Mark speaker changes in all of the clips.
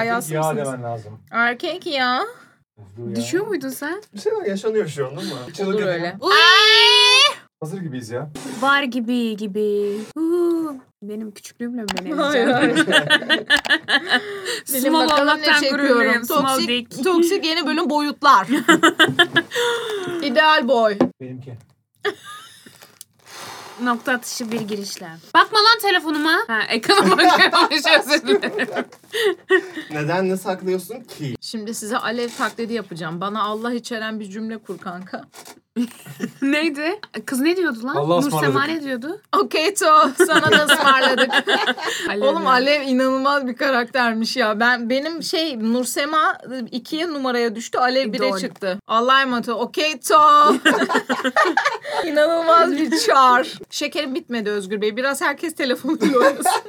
Speaker 1: Ayası
Speaker 2: Ya
Speaker 1: mısınız?
Speaker 2: demen lazım.
Speaker 1: Erkek ya.
Speaker 2: Vurdu ya.
Speaker 1: Düşüyor muydun sen?
Speaker 2: Bir şeyler yaşanıyor şu an değil mi? Hiç
Speaker 1: Olur
Speaker 2: dedim.
Speaker 1: öyle.
Speaker 2: Hazır gibiyiz ya.
Speaker 3: Var gibi gibi. Uuu. Benim küçüklüğümle mi beni
Speaker 1: Hayır, hayır.
Speaker 3: Small Allah'tan gururum. Small
Speaker 4: şey Toksik,
Speaker 3: dick.
Speaker 4: toksik yeni bölüm boyutlar. İdeal boy.
Speaker 2: Benimki.
Speaker 3: Nokta atışı bir girişle. Bakma lan telefonuma. Ha ekrana bakıyormuş özür dilerim.
Speaker 5: Neden ne saklıyorsun ki?
Speaker 4: Şimdi size alev taklidi yapacağım. Bana Allah içeren bir cümle kur kanka.
Speaker 3: Neydi? Kız ne diyordu lan?
Speaker 2: Allah'a
Speaker 3: Nur Sema
Speaker 2: ısmarladık.
Speaker 3: ne diyordu?
Speaker 4: Okey to sana da ısmarladık. Oğlum
Speaker 3: ya.
Speaker 4: Alev inanılmaz bir karaktermiş ya. Ben benim şey Nursema 2'ye numaraya düştü. Alev 1'e
Speaker 3: İdol.
Speaker 4: çıktı. Allah'a emanet ol. Okey to. inanılmaz bir çağır. Şekerim bitmedi Özgür Bey. Biraz herkes telefonuyla oynasın.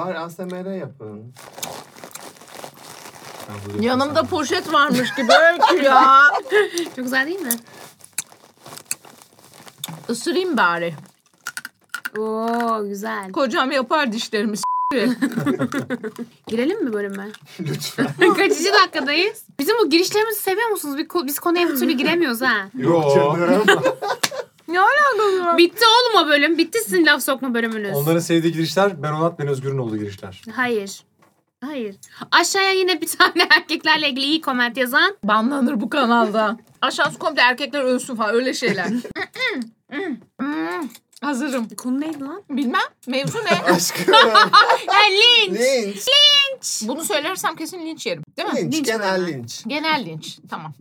Speaker 5: Var ASMR yapın.
Speaker 4: Yanımda poşet varmış gibi öykü ya.
Speaker 3: Çok güzel değil mi?
Speaker 4: Isırayım bari.
Speaker 3: Oo güzel.
Speaker 4: Kocam yapar dişlerimi. s-
Speaker 3: Girelim mi bölüme? Lütfen. Kaçıncı dakikadayız? Bizim bu girişlerimizi seviyor musunuz? Biz, ko- biz konuya bir türlü giremiyoruz ha.
Speaker 2: Yo.
Speaker 5: Yok canım.
Speaker 4: Ne alakası var?
Speaker 3: Bitti oğlum o bölüm. Bitti sizin laf sokma bölümünüz.
Speaker 2: Onların sevdiği girişler ben Onat ben Özgür'ün olduğu girişler.
Speaker 3: Hayır. Hayır. Aşağıya yine bir tane erkeklerle ilgili iyi koment yazan.
Speaker 4: Banlanır bu kanalda. Aşağısı komple erkekler ölsün falan öyle şeyler. Hmm, Hazırım.
Speaker 3: Konu neydi lan?
Speaker 4: Bilmem. Mevzu ne?
Speaker 5: Aşkım.
Speaker 3: Ha linç.
Speaker 5: linç.
Speaker 4: Bunu söylersem kesin linç yerim. Değil mi?
Speaker 5: Linç.
Speaker 3: Linç
Speaker 5: Genel
Speaker 3: mi?
Speaker 5: linç.
Speaker 4: Genel linç. Tamam.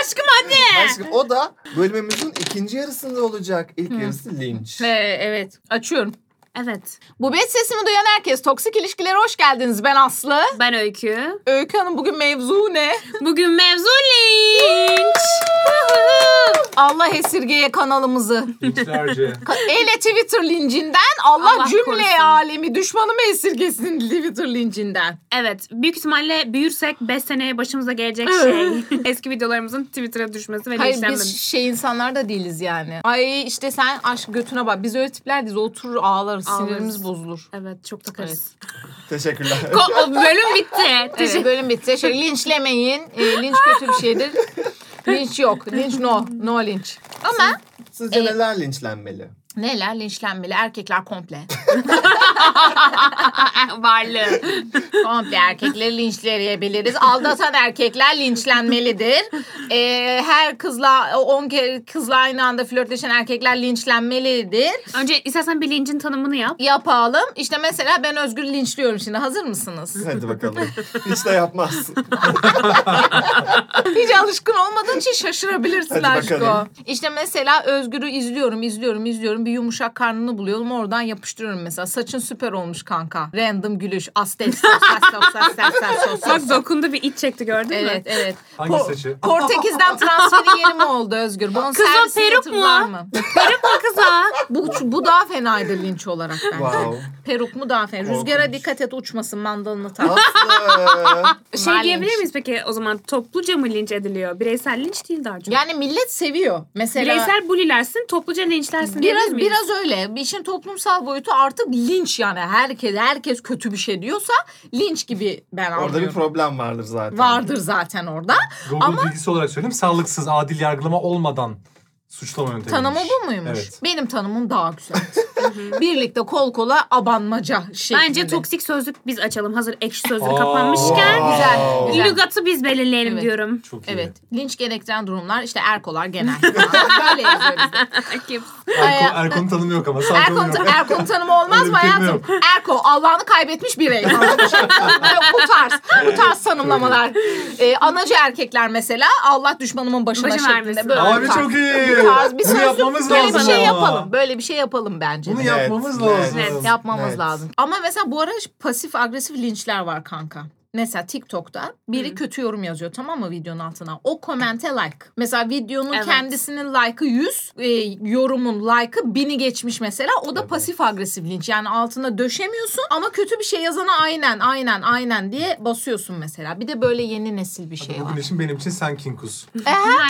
Speaker 3: Aşkım hadi.
Speaker 5: Aşkım o da bölümümüzün ikinci yarısında olacak. İlk yarısı linç.
Speaker 4: Ee, evet. Açıyorum.
Speaker 3: Evet.
Speaker 4: Bu bet sesimi duyan herkes. Toksik ilişkilere hoş geldiniz. Ben Aslı.
Speaker 3: Ben Öykü.
Speaker 4: Öykü Hanım bugün mevzu ne?
Speaker 3: Bugün mevzu linç.
Speaker 4: Allah esirgeye kanalımızı.
Speaker 2: Linçlerce.
Speaker 4: Ka- Hele Twitter lincinden Allah,
Speaker 3: Allah
Speaker 4: cümle
Speaker 3: korusun.
Speaker 4: alemi düşmanımı esirgesin Twitter lincinden.
Speaker 3: evet. Büyük ihtimalle büyürsek 5 seneye başımıza gelecek şey. eski videolarımızın Twitter'a düşmesi ve
Speaker 4: Hayır
Speaker 3: linçlenmemiz.
Speaker 4: biz şey insanlar da değiliz yani. Ay işte sen aşk götüne bak. Biz öyle tipler değiliz. Oturur ağlarız.
Speaker 3: Ağlarız.
Speaker 4: Sinirimiz bozulur.
Speaker 3: Evet çok takarız.
Speaker 5: Teşekkürler.
Speaker 3: Ko- o bölüm bitti.
Speaker 4: Evet,
Speaker 3: Teşekkür
Speaker 4: Ee, bölüm bitti. Şey, linçlemeyin. E, linç kötü bir şeydir. Linç yok. Linç no. No linç. Ama
Speaker 5: Sizce neler linçlenmeli?
Speaker 4: neler linçlenmeli? Erkekler komple.
Speaker 3: Varlığı.
Speaker 4: Komple erkekleri linçleyebiliriz. Aldatan erkekler linçlenmelidir. Ee, her kızla 10 kere kızla aynı anda flörtleşen erkekler linçlenmelidir.
Speaker 3: Önce istersen bir linçin tanımını yap.
Speaker 4: Yapalım. İşte mesela ben Özgür linçliyorum şimdi. Hazır mısınız?
Speaker 5: Hadi bakalım. Hiç de yapmaz.
Speaker 4: Hiç alışkın olmadığın için şaşırabilirsin
Speaker 5: Hadi
Speaker 4: aşko.
Speaker 5: bakalım.
Speaker 4: İşte mesela Özgür'ü izliyorum, izliyorum, izliyorum. Bir yumuşak karnını buluyorum. Oradan yapıştırıyorum mesela. Saçın süper olmuş kanka. Random gülüş. Astes.
Speaker 3: Bak dokundu bir iç çekti gördün mü?
Speaker 4: Evet, evet.
Speaker 2: Hangi
Speaker 4: Po-
Speaker 2: saçı?
Speaker 4: Portekiz'den transferi yeri mi oldu Özgür? Bunun
Speaker 3: Kız o
Speaker 4: servisi
Speaker 3: peruk
Speaker 4: yatırı
Speaker 3: mu?
Speaker 4: var mı?
Speaker 3: Garip mi kıza?
Speaker 4: Bu, bu daha fenaydı linç olarak bence.
Speaker 5: wow.
Speaker 4: Peruk mu daha fena?
Speaker 5: Korkunç.
Speaker 4: Rüzgara dikkat et uçmasın mandalını tak.
Speaker 5: Aslı.
Speaker 3: Şey
Speaker 4: Var
Speaker 3: diyebilir
Speaker 4: linç.
Speaker 3: miyiz peki o zaman topluca mı linç ediliyor? Bireysel linç değil daha çok.
Speaker 4: Yani millet seviyor. Mesela
Speaker 3: Bireysel bulilersin, topluca linçlersin diyebilir
Speaker 4: Biraz
Speaker 3: miyiz?
Speaker 4: biraz öyle. Bir işin toplumsal boyutu artık linç yani. Herkes herkes kötü bir şey diyorsa linç gibi ben
Speaker 5: Orada bir
Speaker 4: anlıyorum.
Speaker 5: problem vardır zaten.
Speaker 4: Vardır zaten orada.
Speaker 2: Google bilgisi olarak söyleyeyim. Sağlıksız, adil yargılama olmadan suçlama yöntemi.
Speaker 4: Tanımı bu muymuş?
Speaker 2: Evet.
Speaker 4: Benim tanımım daha güzel. Birlikte kol kola abanmaca şeklinde.
Speaker 3: Bence toksik sözlük biz açalım. Hazır ekşi sözlük
Speaker 2: Aa.
Speaker 3: kapanmışken.
Speaker 4: Güzel,
Speaker 5: Wow.
Speaker 4: güzel.
Speaker 3: Lügatı biz belirleyelim
Speaker 4: Evet.
Speaker 3: diyorum.
Speaker 2: Çok iyi.
Speaker 4: Evet. Linç gerektiren durumlar işte erkolar genel. Böyle yazıyor bizde.
Speaker 3: Akif.
Speaker 2: Erko, Erko'nun tanımı yok ama. Sadece
Speaker 4: Erkon,
Speaker 2: onun yok.
Speaker 4: Erkon tanımı olmaz
Speaker 2: Öyle
Speaker 4: mı
Speaker 2: bir kelime
Speaker 4: hayatım? Erko Allah'ını kaybetmiş birey. Böyle bu tarz, bu tarz tanımlamalar. Ee, anacı erkekler mesela Allah düşmanımın başına
Speaker 3: Başına
Speaker 4: şeklinde
Speaker 3: vermesin.
Speaker 4: böyle
Speaker 2: Abi
Speaker 4: bir tarz.
Speaker 2: çok iyi.
Speaker 4: Bu tarz bir
Speaker 2: Bunu
Speaker 4: sözlük,
Speaker 2: yapmamız
Speaker 4: böyle
Speaker 2: lazım
Speaker 4: bir şey
Speaker 2: ama.
Speaker 4: yapalım. Böyle bir şey yapalım bence.
Speaker 2: Bunu
Speaker 4: de.
Speaker 5: Evet,
Speaker 2: yapmamız
Speaker 5: evet.
Speaker 2: lazım.
Speaker 3: Evet.
Speaker 4: Yapmamız
Speaker 5: Evet.
Speaker 4: lazım. Ama mesela bu ara pasif agresif linçler var kanka. mesela TikTok'ta biri
Speaker 3: Hı.
Speaker 4: kötü yorum yazıyor tamam mı videonun altına. O komente like. Mesela videonun
Speaker 3: Evet.
Speaker 4: kendisinin like'ı 100, e, yorumun like'ı 1000'i geçmiş mesela. O da
Speaker 2: Evet.
Speaker 4: pasif agresif linç. Yani altına döşemiyorsun ama kötü bir şey yazana aynen aynen aynen diye basıyorsun mesela. Bir de böyle yeni nesil bir şey var.
Speaker 2: Bugün için benim için sen Kinkus.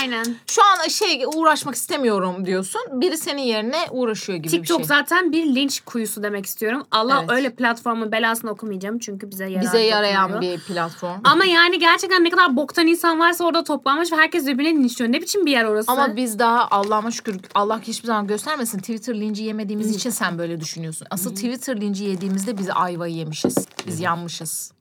Speaker 3: Aynen.
Speaker 4: Şu an şey uğraşmak istemiyorum diyorsun. Biri senin yerine uğraşıyor gibi bir şey.
Speaker 3: TikTok zaten bir linç kuyusu demek istiyorum. Allah
Speaker 4: Evet.
Speaker 3: öyle platformun belasını okumayacağım çünkü bize yarar
Speaker 4: bize yarayan
Speaker 3: dokunuyor.
Speaker 4: bir platform.
Speaker 3: Ama yani gerçekten ne kadar boktan insan varsa orada toplanmış ve herkes birbirine linçliyor. Ne biçim bir yer orası?
Speaker 4: Ama biz daha Allah'ıma şükür Allah hiçbir zaman göstermesin. Twitter linci yemediğimiz için sen böyle düşünüyorsun. Asıl Twitter linci yediğimizde biz ayvayı yemişiz. Biz yanmışız.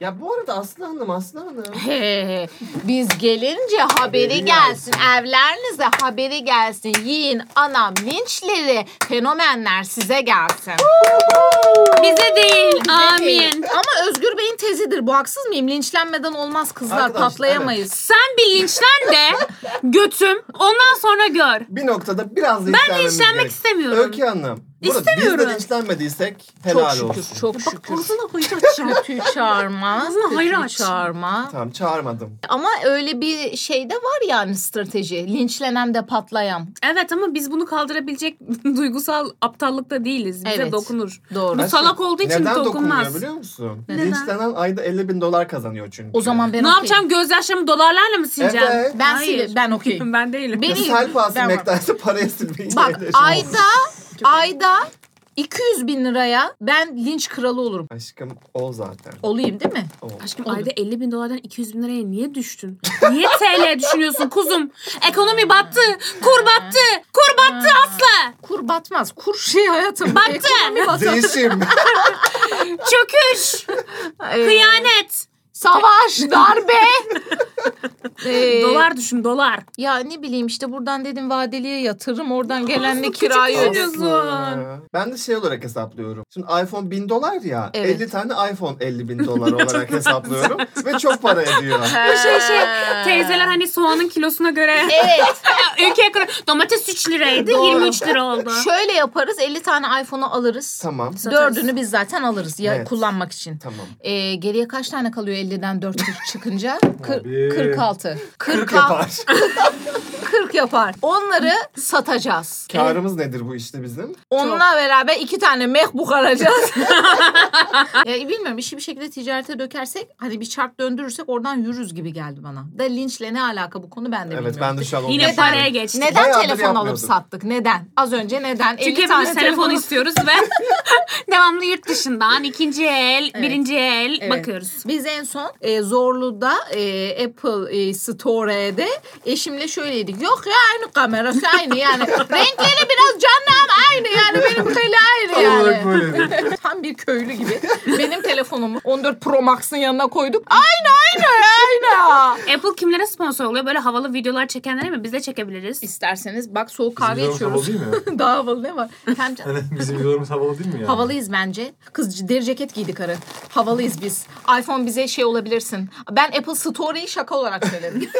Speaker 5: Ya bu arada Aslı Hanım, Aslı Hanım.
Speaker 4: He, biz gelince haberi gelsin. Evlerinize haberi gelsin. Yiyin anam linçleri. Fenomenler size gelsin.
Speaker 3: bize değil. Amin.
Speaker 4: Ama Özgür Bey'in tezidir. Bu haksız mıyım? Linçlenmeden olmaz kızlar.
Speaker 5: Arkadaşlar,
Speaker 4: patlayamayız.
Speaker 3: Sen bir linçlen de götüm. Ondan sonra gör.
Speaker 5: Bir noktada biraz da Ben
Speaker 3: Linçlenmek istemiyorum.
Speaker 5: Öykü Hanım. Burada biz
Speaker 3: İstemiyorum.
Speaker 5: de linçlenmediysek
Speaker 4: Çok
Speaker 5: helal
Speaker 4: şükür,
Speaker 5: olsun.
Speaker 4: çok şükür.
Speaker 3: Ağzına hayır açacağım.
Speaker 4: Kötüyü çağırma.
Speaker 3: Ağzına hayır
Speaker 4: kötüyü
Speaker 3: aç.
Speaker 4: çağırma.
Speaker 5: Tamam çağırmadım.
Speaker 4: Ama öyle bir şey de var yani strateji. Linçlenen de patlayan.
Speaker 3: evet ama biz bunu kaldırabilecek duygusal aptallıkta değiliz. Bize
Speaker 4: Evet.
Speaker 3: dokunur.
Speaker 4: Doğru.
Speaker 3: Bu salak olduğu için
Speaker 5: Neden dokunmuyor
Speaker 3: dokunmaz.
Speaker 5: biliyor musun?
Speaker 3: Neden?
Speaker 5: Linçlenen ayda 50 bin dolar kazanıyor çünkü.
Speaker 4: O zaman ben
Speaker 3: ne
Speaker 4: okeyim.
Speaker 3: yapacağım? Gözyaşlarımı dolarlarla mı sileceğim?
Speaker 5: Evet.
Speaker 4: Ben
Speaker 3: Hayır.
Speaker 4: sil- ben okeyim.
Speaker 3: Ben değilim.
Speaker 4: Beni-
Speaker 5: Sel pahası
Speaker 4: Ben-
Speaker 5: mektarsa paraya silmeyi
Speaker 4: Bak
Speaker 5: yerleşim olsun.
Speaker 4: ayda ayda 200 bin liraya ben linç kralı olurum.
Speaker 5: Aşkım ol zaten.
Speaker 4: Olayım değil mi?
Speaker 5: Ol.
Speaker 3: Aşkım ayda 50 bin dolardan 200 bin liraya niye düştün? Niye TL düşünüyorsun kuzum? Ekonomi battı, kur battı, kur battı asla.
Speaker 4: Kur batmaz. Kur şey hayatım. Baktı.
Speaker 5: Değişim.
Speaker 3: Çöküş, kıyamet.
Speaker 4: Ee, Savaş, darbe. Ee,
Speaker 3: Dolar düşün dolar.
Speaker 4: Ya ne bileyim işte buradan dedim vadeliye yatırım. Oradan gelen ne
Speaker 3: Nasıl küçük
Speaker 4: kirayı ödüyorum.
Speaker 3: düşünüyorsun?
Speaker 5: Aslı. Ben de şey olarak hesaplıyorum. Şimdi iPhone 1000 dolar ya.
Speaker 4: Evet.
Speaker 5: 50 tane iPhone 50 bin dolar olarak hesaplıyorum. ve çok para ediyor.
Speaker 3: Bu şey şey
Speaker 4: Ee.
Speaker 3: teyzeler hani soğanın kilosuna göre
Speaker 4: Evet.
Speaker 3: ülkeye göre domates 3 liraydı
Speaker 4: E, Doğru.
Speaker 3: 23 lira oldu.
Speaker 4: Şöyle yaparız 50 tane iPhone'u alırız.
Speaker 5: tamam.
Speaker 3: Satarız.
Speaker 4: Dördünü biz zaten alırız ya
Speaker 5: Evet.
Speaker 4: kullanmak için.
Speaker 5: Tamam.
Speaker 4: Ee, geriye kaç tane kalıyor 50'den 4 çıkınca?
Speaker 2: Abi.
Speaker 4: Kır, 46.
Speaker 5: 40
Speaker 4: 40 yapar.
Speaker 5: yapar.
Speaker 4: 40 yapar. Onları satacağız.
Speaker 5: Karımız nedir bu işte bizim?
Speaker 4: Onunla beraber iki tane MacBook alacağız. ya, bilmiyorum işi bir şekilde ticarete dökersek hani bir çarp döndürürsek oradan yürürüz gibi geldi bana. Da linçle ne alaka bu konu ben de
Speaker 5: Evet
Speaker 4: bilmiyorum.
Speaker 5: ben de şu an onu
Speaker 3: Yine
Speaker 5: düşünüyorum.
Speaker 3: paraya geçtik.
Speaker 4: Neden
Speaker 5: Bayağıdır
Speaker 4: telefon alıp
Speaker 5: yapmıyorduk.
Speaker 4: sattık? Neden? Az önce neden? 50
Speaker 3: Çünkü
Speaker 4: tane
Speaker 3: hepimiz telefon
Speaker 4: telefonu-
Speaker 3: istiyoruz ve devamlı yurt dışından ikinci el, birinci el
Speaker 4: Evet.
Speaker 3: bakıyoruz.
Speaker 4: Biz en son e, Zorlu'da e, Apple e, Store'de eşimle şöyleydik. Yok ya aynı kamerası aynı yani. Renkleri biraz canlı ama aynı yani. Benim kale aynı
Speaker 5: Tam olarak
Speaker 4: yani.
Speaker 5: böyle.
Speaker 4: Tam bir köylü gibi. Benim telefonumu 14 Pro Max'ın yanına koyduk. Aynı aynı aynı.
Speaker 3: Apple kimlere sponsor oluyor? Böyle havalı videolar çekenlere mi? Biz de çekebiliriz.
Speaker 4: İsterseniz bak soğuk
Speaker 2: Bizim
Speaker 4: kahve
Speaker 2: videolarımız
Speaker 4: içiyoruz.
Speaker 2: Havalı değil mi?
Speaker 4: Daha havalı ne var? Hem can-
Speaker 2: Hani bizim videolarımız havalı değil mi yani?
Speaker 4: Havalıyız bence. Kız deri ceket giydi karı. Havalıyız biz. iPhone bize şey olabilirsin. Ben Apple Store'yi şaka olarak söyledim.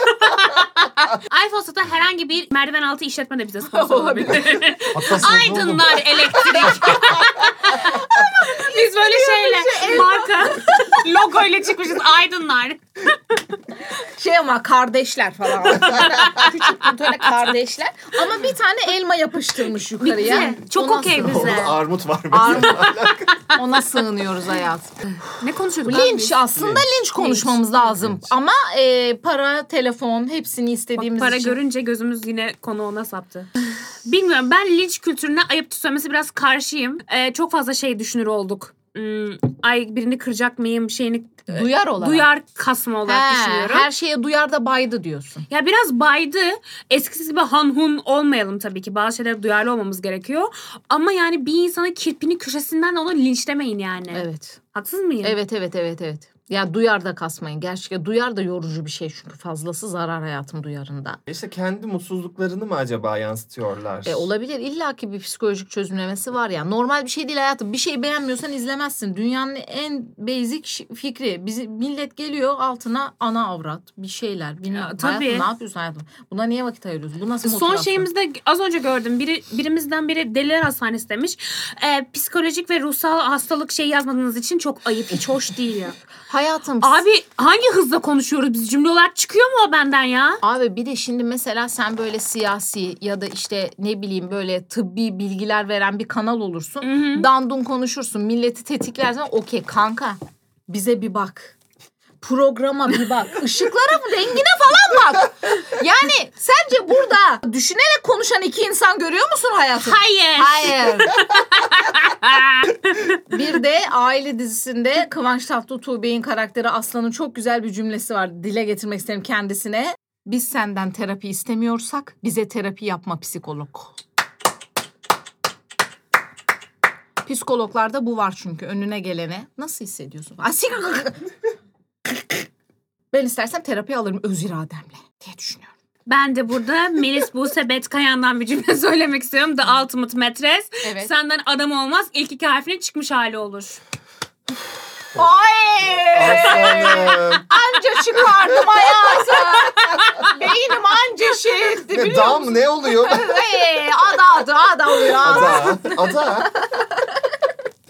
Speaker 3: iPhone satan herhangi bir merdiven altı işletme de bize sponsor
Speaker 4: Olabilir.
Speaker 3: olabilir.
Speaker 2: Hatta Aydınlar.
Speaker 3: Aydınlar elektrik. Biz böyle şeyle marka logo ile çıkmışız Aydınlar.
Speaker 4: şey ama kardeşler falan. Küçük kuntara kardeşler. Ama bir tane elma yapıştırmış yukarıya.
Speaker 3: Bitti. Çok
Speaker 4: Ona
Speaker 3: okey
Speaker 4: sığ-
Speaker 3: bize.
Speaker 5: Orada armut var mesela.
Speaker 4: Ona sığınıyoruz hayatım.
Speaker 3: Ne konuşuyorduk? abi biz?
Speaker 4: Linç aslında linç, konuşmamız lazım. Ama e, para, telefon hepsini
Speaker 3: Bak,
Speaker 4: istediğimiz
Speaker 3: para
Speaker 4: için.
Speaker 3: görünce gözümüz yine konu ona saptı. Bilmiyorum ben linç kültürüne ayıp söylemesi biraz karşıyım. Ee, çok fazla şey düşünür olduk. Hmm, ay birini kıracak mıyım şeyini
Speaker 4: e, duyar olarak.
Speaker 3: duyar kasma olarak
Speaker 4: He,
Speaker 3: düşünüyorum.
Speaker 4: her şey. şeye duyar da baydı diyorsun.
Speaker 3: Ya biraz baydı. Eskisi gibi hanhun olmayalım tabii ki. Bazı şeylere duyarlı olmamız gerekiyor. Ama yani bir insanın kirpini köşesinden onu linçlemeyin yani.
Speaker 4: Evet.
Speaker 3: Haksız mıyım?
Speaker 4: Evet evet evet evet. Ya duyar da kasmayın. Gerçekten duyar da yorucu bir şey çünkü fazlası zarar hayatım duyarında.
Speaker 5: İşte kendi mutsuzluklarını mı acaba yansıtıyorlar?
Speaker 4: E, olabilir. İlla ki bir psikolojik çözümlemesi var ya. Normal bir şey değil hayatım. Bir şey beğenmiyorsan izlemezsin. Dünyanın en basic ş- fikri. Bizi, millet geliyor altına ana avrat. Bir şeyler. Bilmiyorum.
Speaker 3: Ya, tabii.
Speaker 4: Hayatım, ne yapıyorsun hayatım? Buna niye vakit ayırıyorsun? Bu nasıl
Speaker 3: Son
Speaker 4: motivasyon?
Speaker 3: şeyimizde az önce gördüm. Biri, birimizden biri deliler hastanesi demiş. Ee, psikolojik ve ruhsal hastalık şey yazmadığınız için çok ayıp. Hiç hoş değil ya.
Speaker 4: Hayatım
Speaker 3: Abi hangi hızla konuşuyoruz biz? Cümle olarak çıkıyor mu o benden ya?
Speaker 4: Abi bir de şimdi mesela sen böyle siyasi ya da işte ne bileyim böyle tıbbi bilgiler veren bir kanal olursun. Dandun konuşursun, milleti tetiklersen okey kanka bize bir bak. Programa bir bak. Işıklara, rengine falan bak. Yani sence burada düşünerek konuşan iki insan görüyor musun hayatım?
Speaker 3: Hayır.
Speaker 4: Hayır. bir de aile dizisinde Kıvanç Tatlıtuğ Bey'in karakteri Aslan'ın çok güzel bir cümlesi var. Dile getirmek isterim kendisine. Biz senden terapi istemiyorsak bize terapi yapma psikolog. Psikologlarda bu var çünkü önüne gelene. Nasıl hissediyorsun? Ay, sik- ben istersem terapi alırım öz irademle diye düşünüyorum.
Speaker 3: Ben de burada Melis Buse Betkayan'dan bir cümle söylemek istiyorum. The Ultimate Metres.
Speaker 4: Evet.
Speaker 3: Senden adam olmaz. İlk iki harfinin çıkmış hali olur.
Speaker 5: Aslanım.
Speaker 4: Anca çıkardım hayatım. Beynim anca şey etti
Speaker 5: Ne,
Speaker 4: biliyor
Speaker 5: dam
Speaker 4: musun?
Speaker 5: ne oluyor?
Speaker 4: Ee, ada adı ada oluyor.
Speaker 5: Ada. Ada.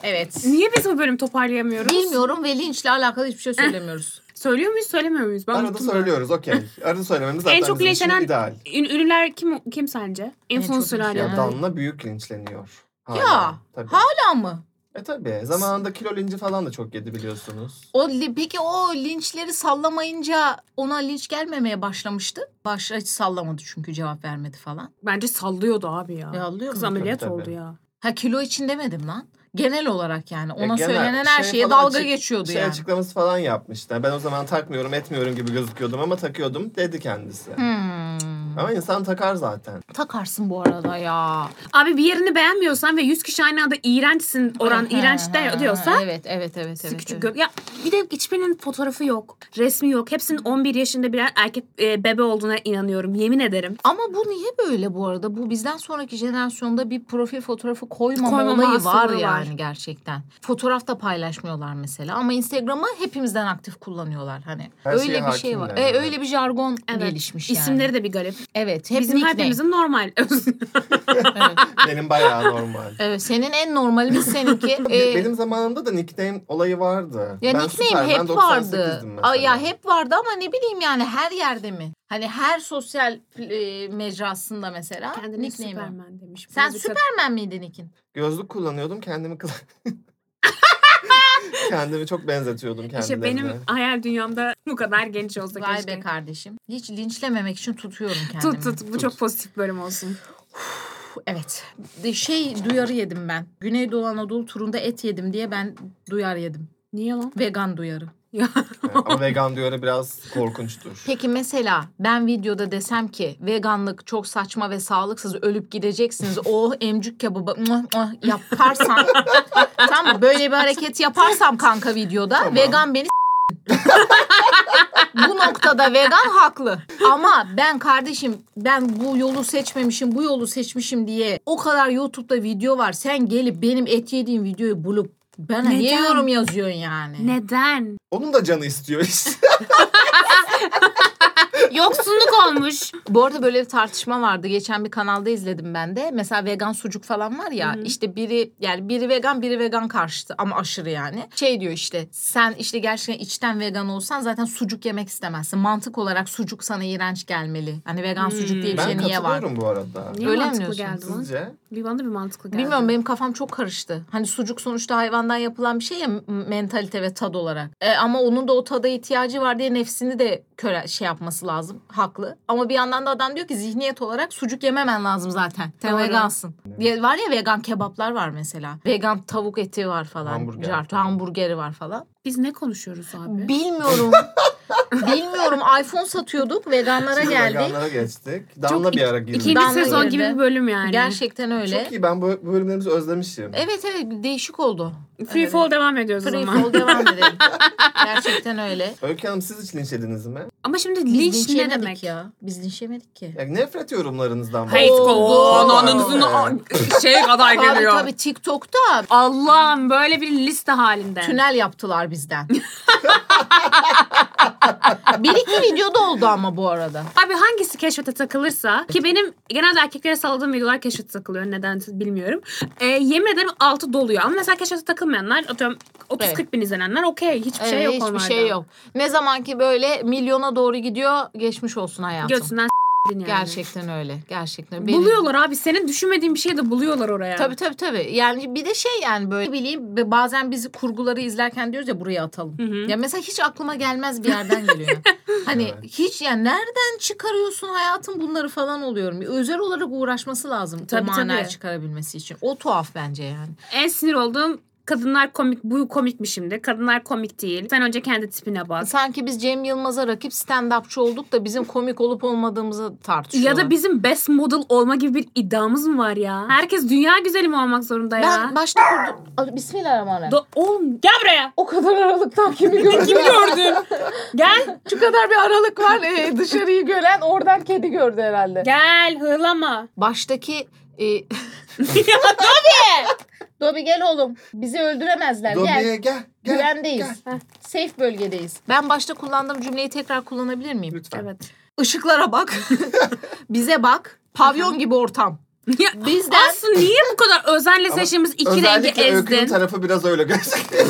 Speaker 4: Evet.
Speaker 3: Niye biz bu bölüm toparlayamıyoruz?
Speaker 4: Bilmiyorum ve linçle alakalı hiçbir şey söylemiyoruz.
Speaker 3: Söylüyor muyuz söylemiyor muyuz? Ben
Speaker 5: Arada
Speaker 3: unuttum ben.
Speaker 5: söylüyoruz okey. Arada söylememiz zaten
Speaker 3: En çok
Speaker 5: bizim için
Speaker 3: linçlenen
Speaker 5: ideal.
Speaker 3: ün- ünlüler kim kim sence? En,
Speaker 4: En
Speaker 3: son
Speaker 4: çok
Speaker 5: Ya
Speaker 4: linçlenen.
Speaker 3: sülale.
Speaker 5: Danla büyük linçleniyor. Hala.
Speaker 4: Ya,
Speaker 5: Tabii.
Speaker 4: Hala mı?
Speaker 5: E tabii. Zamanında kilo linci falan da çok yedi biliyorsunuz.
Speaker 4: O li- peki o linçleri sallamayınca ona linç gelmemeye başlamıştı. Başta hiç sallamadı çünkü cevap vermedi falan.
Speaker 3: Bence sallıyordu abi ya.
Speaker 4: Yallıyor
Speaker 3: Kız
Speaker 4: mu?
Speaker 3: ameliyat
Speaker 5: Tabii,
Speaker 3: oldu
Speaker 5: tabii.
Speaker 3: ya.
Speaker 4: Ha kilo için demedim lan. Genel olarak yani
Speaker 5: E,
Speaker 4: ona
Speaker 5: genel
Speaker 4: söylenen her
Speaker 5: şey
Speaker 4: şeye
Speaker 5: falan
Speaker 4: dalga
Speaker 5: açık-
Speaker 4: geçiyordu
Speaker 5: Şey
Speaker 4: yani.
Speaker 5: açıklaması falan yapmıştı. Ben o zaman takmıyorum etmiyorum gibi gözüküyordum ama takıyordum dedi kendisi.
Speaker 4: Hmm.
Speaker 5: Ama insan takar zaten.
Speaker 4: Takarsın bu arada ya.
Speaker 3: Abi bir yerini beğenmiyorsan ve 100 kişi aynı anda iğrençsin oran iğrenç de- diyorsa
Speaker 4: Evet evet evet. evet
Speaker 3: küçük
Speaker 4: evet.
Speaker 3: gö- Ya bir de hiçbirinin fotoğrafı yok. Resmi yok. Hepsinin 11 yaşında birer erkek e, bebe olduğuna inanıyorum. Yemin ederim.
Speaker 4: Ama bu niye böyle bu arada? Bu bizden sonraki jenerasyonda bir profil fotoğrafı koymama,
Speaker 3: Koymama
Speaker 4: olayı
Speaker 3: hastalığı
Speaker 4: var
Speaker 3: var.
Speaker 4: yani gerçekten. Fotoğraf da paylaşmıyorlar mesela ama Instagram'ı hepimizden aktif kullanıyorlar hani.
Speaker 5: Her şeye
Speaker 4: öyle bir şey var.
Speaker 5: hakimler.
Speaker 4: E, öyle bir jargon
Speaker 3: Evet.
Speaker 4: gelişmiş yani.
Speaker 3: İsimleri de bir garip.
Speaker 4: evet, hep
Speaker 3: Bizim
Speaker 4: nickname.
Speaker 3: hepimizin normal.
Speaker 4: evet.
Speaker 5: Benim bayağı normal.
Speaker 4: Evet, senin en normalimiz seninki. E,
Speaker 5: Benim zamanımda da nickname olayı vardı.
Speaker 4: ya
Speaker 5: ben
Speaker 4: nickname
Speaker 5: Superman
Speaker 4: hep
Speaker 5: 98'dim
Speaker 4: vardı.
Speaker 5: mesela.
Speaker 4: Ay ya hep vardı ama ne bileyim yani her yerde mi? Hani her sosyal e, mecrasında mesela
Speaker 3: Kendine
Speaker 4: nickname. var.
Speaker 3: Superman demiş.
Speaker 4: Sen
Speaker 3: Buna dikkat-
Speaker 4: Superman miydin Nick'in?
Speaker 5: Gözlük kullanıyordum kendimi kız. kendimi çok benzetiyordum kendime.
Speaker 3: İşte benim hayal dünyamda bu kadar genç olsa
Speaker 4: Vay
Speaker 3: keşke.
Speaker 4: be kardeşim. Hiç linçlememek için tutuyorum kendimi.
Speaker 3: Tut tut bu
Speaker 5: Tut.
Speaker 3: çok pozitif bölüm olsun.
Speaker 4: Evet. De- Şey duyarı yedim ben. Güneydoğu Anadolu turunda et yedim diye ben duyar yedim.
Speaker 3: Niye lan?
Speaker 4: Vegan duyarı.
Speaker 5: Ama vegan diyarı biraz korkunçtur.
Speaker 4: Peki mesela ben videoda desem ki veganlık çok saçma ve sağlıksız ölüp gideceksiniz. O emcük kebabı muah muah yaparsan tamam mı? böyle bir hareket yaparsam kanka videoda
Speaker 5: Tamam.
Speaker 4: vegan beni s- bu noktada vegan haklı. Ama ben kardeşim ben bu yolu seçmemişim bu yolu seçmişim diye o kadar YouTube'da video var. Sen gelip benim et yediğim videoyu bulup bana niye
Speaker 3: Neden?
Speaker 4: yorum yazıyorsun yani?
Speaker 3: Neden?
Speaker 5: Onun da canı istiyor işte.
Speaker 3: Yoksunluk olmuş.
Speaker 4: Bu arada böyle bir tartışma vardı. Geçen bir kanalda izledim ben de. Mesela vegan sucuk falan var ya. işte biri yani biri vegan biri vegan karşıtı ama aşırı yani. Şey diyor işte sen işte gerçekten içten vegan olsan zaten sucuk yemek istemezsin. Mantık olarak sucuk sana iğrenç gelmeli. Hani vegan sucuk diye bir
Speaker 5: Ben
Speaker 4: şey niye var?
Speaker 5: katılıyorum bu arada.
Speaker 3: Niye
Speaker 4: Öyle mi
Speaker 3: mantıklı
Speaker 4: diyorsun?
Speaker 3: geldi lan?
Speaker 5: Sizce?
Speaker 3: Bir bana da bir mantıklı geldi.
Speaker 4: Bilmiyorum benim kafam çok karıştı. Hani sucuk sonuçta hayvandan yapılan bir şey ya m- mentalite ve tad olarak. E, ama onun da o tada ihtiyacı var diye nefsini de köre şey yapması lazım. Haklı. Ama bir yandan da adam diyor ki zihniyet olarak sucuk yememen lazım zaten. Sen
Speaker 3: Doğru.
Speaker 4: vegansın. Ya, var ya vegan kebaplar var mesela. Vegan tavuk eti var falan.
Speaker 5: Hamburger
Speaker 4: Cart-
Speaker 5: falan.
Speaker 4: hamburgeri var falan.
Speaker 3: Biz ne konuşuyoruz abi?
Speaker 4: Bilmiyorum. Bilmiyorum. iPhone satıyorduk. Veganlara
Speaker 5: Şimdi
Speaker 4: geldik.
Speaker 5: veganlara geçtik. Damla bir ara girdi.
Speaker 3: İkinci
Speaker 4: Damla
Speaker 3: sezon
Speaker 4: girdi.
Speaker 3: gibi bir bölüm yani.
Speaker 4: Gerçekten öyle.
Speaker 5: Çok iyi ben bu bu bölümlerimizi özlemişim.
Speaker 4: Evet evet değişik oldu.
Speaker 3: Free
Speaker 4: Evet.
Speaker 3: fall devam ediyoruz o
Speaker 4: Free
Speaker 3: zaman.
Speaker 4: fall devam edelim. Gerçekten öyle.
Speaker 5: Öykü Hanım siz hiç linçlediniz mi?
Speaker 3: Ama şimdi
Speaker 4: Biz
Speaker 3: linç ne
Speaker 4: yemedik
Speaker 3: demek?
Speaker 4: ya? Biz linç yemedik ki.
Speaker 5: Ya nefret yorumlarınızdan
Speaker 3: Hate
Speaker 4: Oo.
Speaker 3: go ananızın şey kadar
Speaker 4: Abi
Speaker 3: geliyor.
Speaker 4: tabii TikTok'ta
Speaker 3: Allah'ım böyle bir liste halinde.
Speaker 4: tünel yaptılar bizden. Bir iki videoda oldu ama bu arada.
Speaker 3: Abi hangisi keşfete takılırsa ki benim genelde erkeklere salladığım videolar keşfete takılıyor neden bilmiyorum. Ee, yemin ederim altı doluyor ama mesela keşfete takılmayanlar atıyorum 30-40
Speaker 4: Evet.
Speaker 3: bin izlenenler okey hiçbir şey
Speaker 4: Evet,
Speaker 3: yok
Speaker 4: hiçbir
Speaker 3: onlarda.
Speaker 4: şey yok. Ne zaman ki böyle milyona doğru gidiyor geçmiş olsun hayatım.
Speaker 3: Götünden s**tin yani.
Speaker 4: Gerçekten öyle. Gerçekten öyle. Benim-
Speaker 3: Buluyorlar abi senin düşünmediğin bir şey de buluyorlar oraya.
Speaker 4: Tabii tabii tabii. Yani bir de şey yani böyle ne bileyim bazen bizi kurguları izlerken diyoruz ya buraya atalım.
Speaker 3: Hı hı.
Speaker 4: Ya mesela hiç aklıma gelmez bir yerden geliyor. hani
Speaker 5: Evet.
Speaker 4: hiç yani nereden çıkarıyorsun hayatım bunları falan oluyorum. Özel olarak uğraşması lazım
Speaker 3: Tabii,
Speaker 4: o manayı
Speaker 3: tabii.
Speaker 4: çıkarabilmesi için. O tuhaf bence yani.
Speaker 3: En sinir olduğum kadınlar komik bu komik mi şimdi? Kadınlar komik değil. Sen önce kendi tipine bak.
Speaker 4: Sanki biz Cem Yılmaz'a rakip stand-upçı olduk da bizim komik olup olmadığımızı tartışıyorlar.
Speaker 3: Ya da bizim best model olma gibi bir iddiamız mı var ya? Herkes dünya güzeli mi olmak zorunda ya?
Speaker 4: Ben başta kurdum. Ay, Bismillahirrahmanirrahim.
Speaker 3: Do- Oğlum gel buraya.
Speaker 4: o kadar aralıktan kimi gördün?
Speaker 3: Kim gördün? gel.
Speaker 4: Şu kadar bir aralık var ee, dışarıyı gören oradan kedi gördü herhalde.
Speaker 3: Gel hırlama.
Speaker 4: Baştaki e, Dobi gel oğlum. Bizi öldüremezler.
Speaker 5: Dobi'ye gel. Gel.
Speaker 4: Güvendeyiz. Safe bölgedeyiz. Ben başta kullandığım cümleyi tekrar kullanabilir miyim?
Speaker 5: Lütfen.
Speaker 3: evet.
Speaker 4: Işıklara bak. Bize bak. Pavyon gibi ortam.
Speaker 3: Ya,
Speaker 4: Bizden-
Speaker 3: Aslı niye bu kadar özenle
Speaker 5: Ama
Speaker 3: seçtiğimiz iki rengi
Speaker 5: Özellikle Öykü'nün
Speaker 3: ezdin?
Speaker 5: tarafı biraz öyle gözüküyor.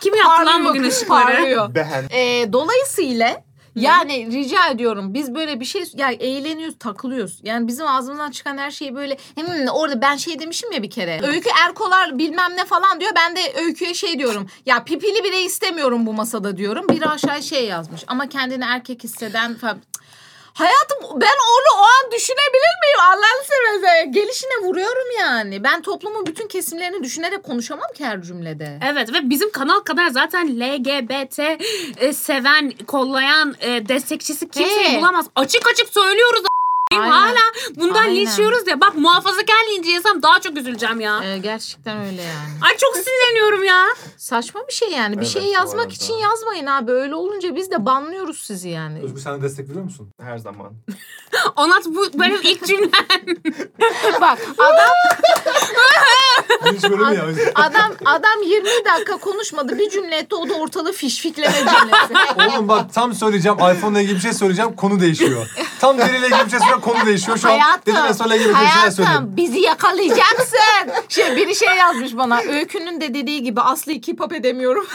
Speaker 3: Kim yaptı lan
Speaker 4: Parlıyor,
Speaker 3: bugün ışıkları?
Speaker 4: parlıyor.
Speaker 5: Behen.
Speaker 4: Ee, dolayısıyla yani rica ediyorum biz böyle bir şey yani eğleniyoruz takılıyoruz. Yani bizim ağzımızdan çıkan her şeyi böyle "Hmm, orada ben şey demişim ya bir kere. Öykü Erkolar bilmem ne falan diyor. Ben de Öykü'ye şey diyorum. Ya pipili bile istemiyorum bu masada diyorum. Biri aşağı şey yazmış ama kendini erkek hisseden falan. Cık. Hayatım ben onu o an düşünebilir miyim? Allah'ını seversen gelişine vuruyorum yani. Ben toplumun bütün kesimlerini düşünerek konuşamam ki her cümlede.
Speaker 3: Evet ve bizim kanal kadar zaten LGBT e, seven, kollayan, e, destekçisi kimseyi
Speaker 4: He.
Speaker 3: bulamaz. Açık açık söylüyoruz
Speaker 4: Ee?
Speaker 3: a**ayım.
Speaker 4: Aynen.
Speaker 3: hala bundan
Speaker 4: Aynen.
Speaker 3: linçliyoruz ya. Bak muhafazakar linci yesem daha çok üzüleceğim ya.
Speaker 4: Ee, gerçekten öyle yani.
Speaker 3: Ay çok sinirleniyorum ya.
Speaker 4: Saçma bir şey yani. Bir
Speaker 5: Evet,
Speaker 4: şey
Speaker 5: bu
Speaker 4: yazmak
Speaker 5: arada.
Speaker 4: için yazmayın abi. Öyle olunca biz de banlıyoruz sizi yani.
Speaker 2: Özgür sen de destek veriyor musun?
Speaker 5: Her zaman.
Speaker 3: Onat bu benim ilk cümle.
Speaker 4: Bak adam
Speaker 2: Hani Hiç böyle mi ya? Özgür?
Speaker 4: adam adam 20 dakika konuşmadı. Bir cümle etti. O da ortalığı fişfikleme cümlesi.
Speaker 2: Oğlum bak tam söyleyeceğim iPhone'la ilgili bir şey söyleyeceğim konu değişiyor. Tam deriyle ilgili bir şey söyleyeceğim konu değişiyor. Şu an
Speaker 4: Hayatım,
Speaker 2: dedim ya sonra ilgili bir şeyler söyleyeyim.
Speaker 4: hayatım bizi yakalayacaksın. Şey biri şey yazmış bana. Öykünün de dediği gibi Aslı iki pap edemiyorum.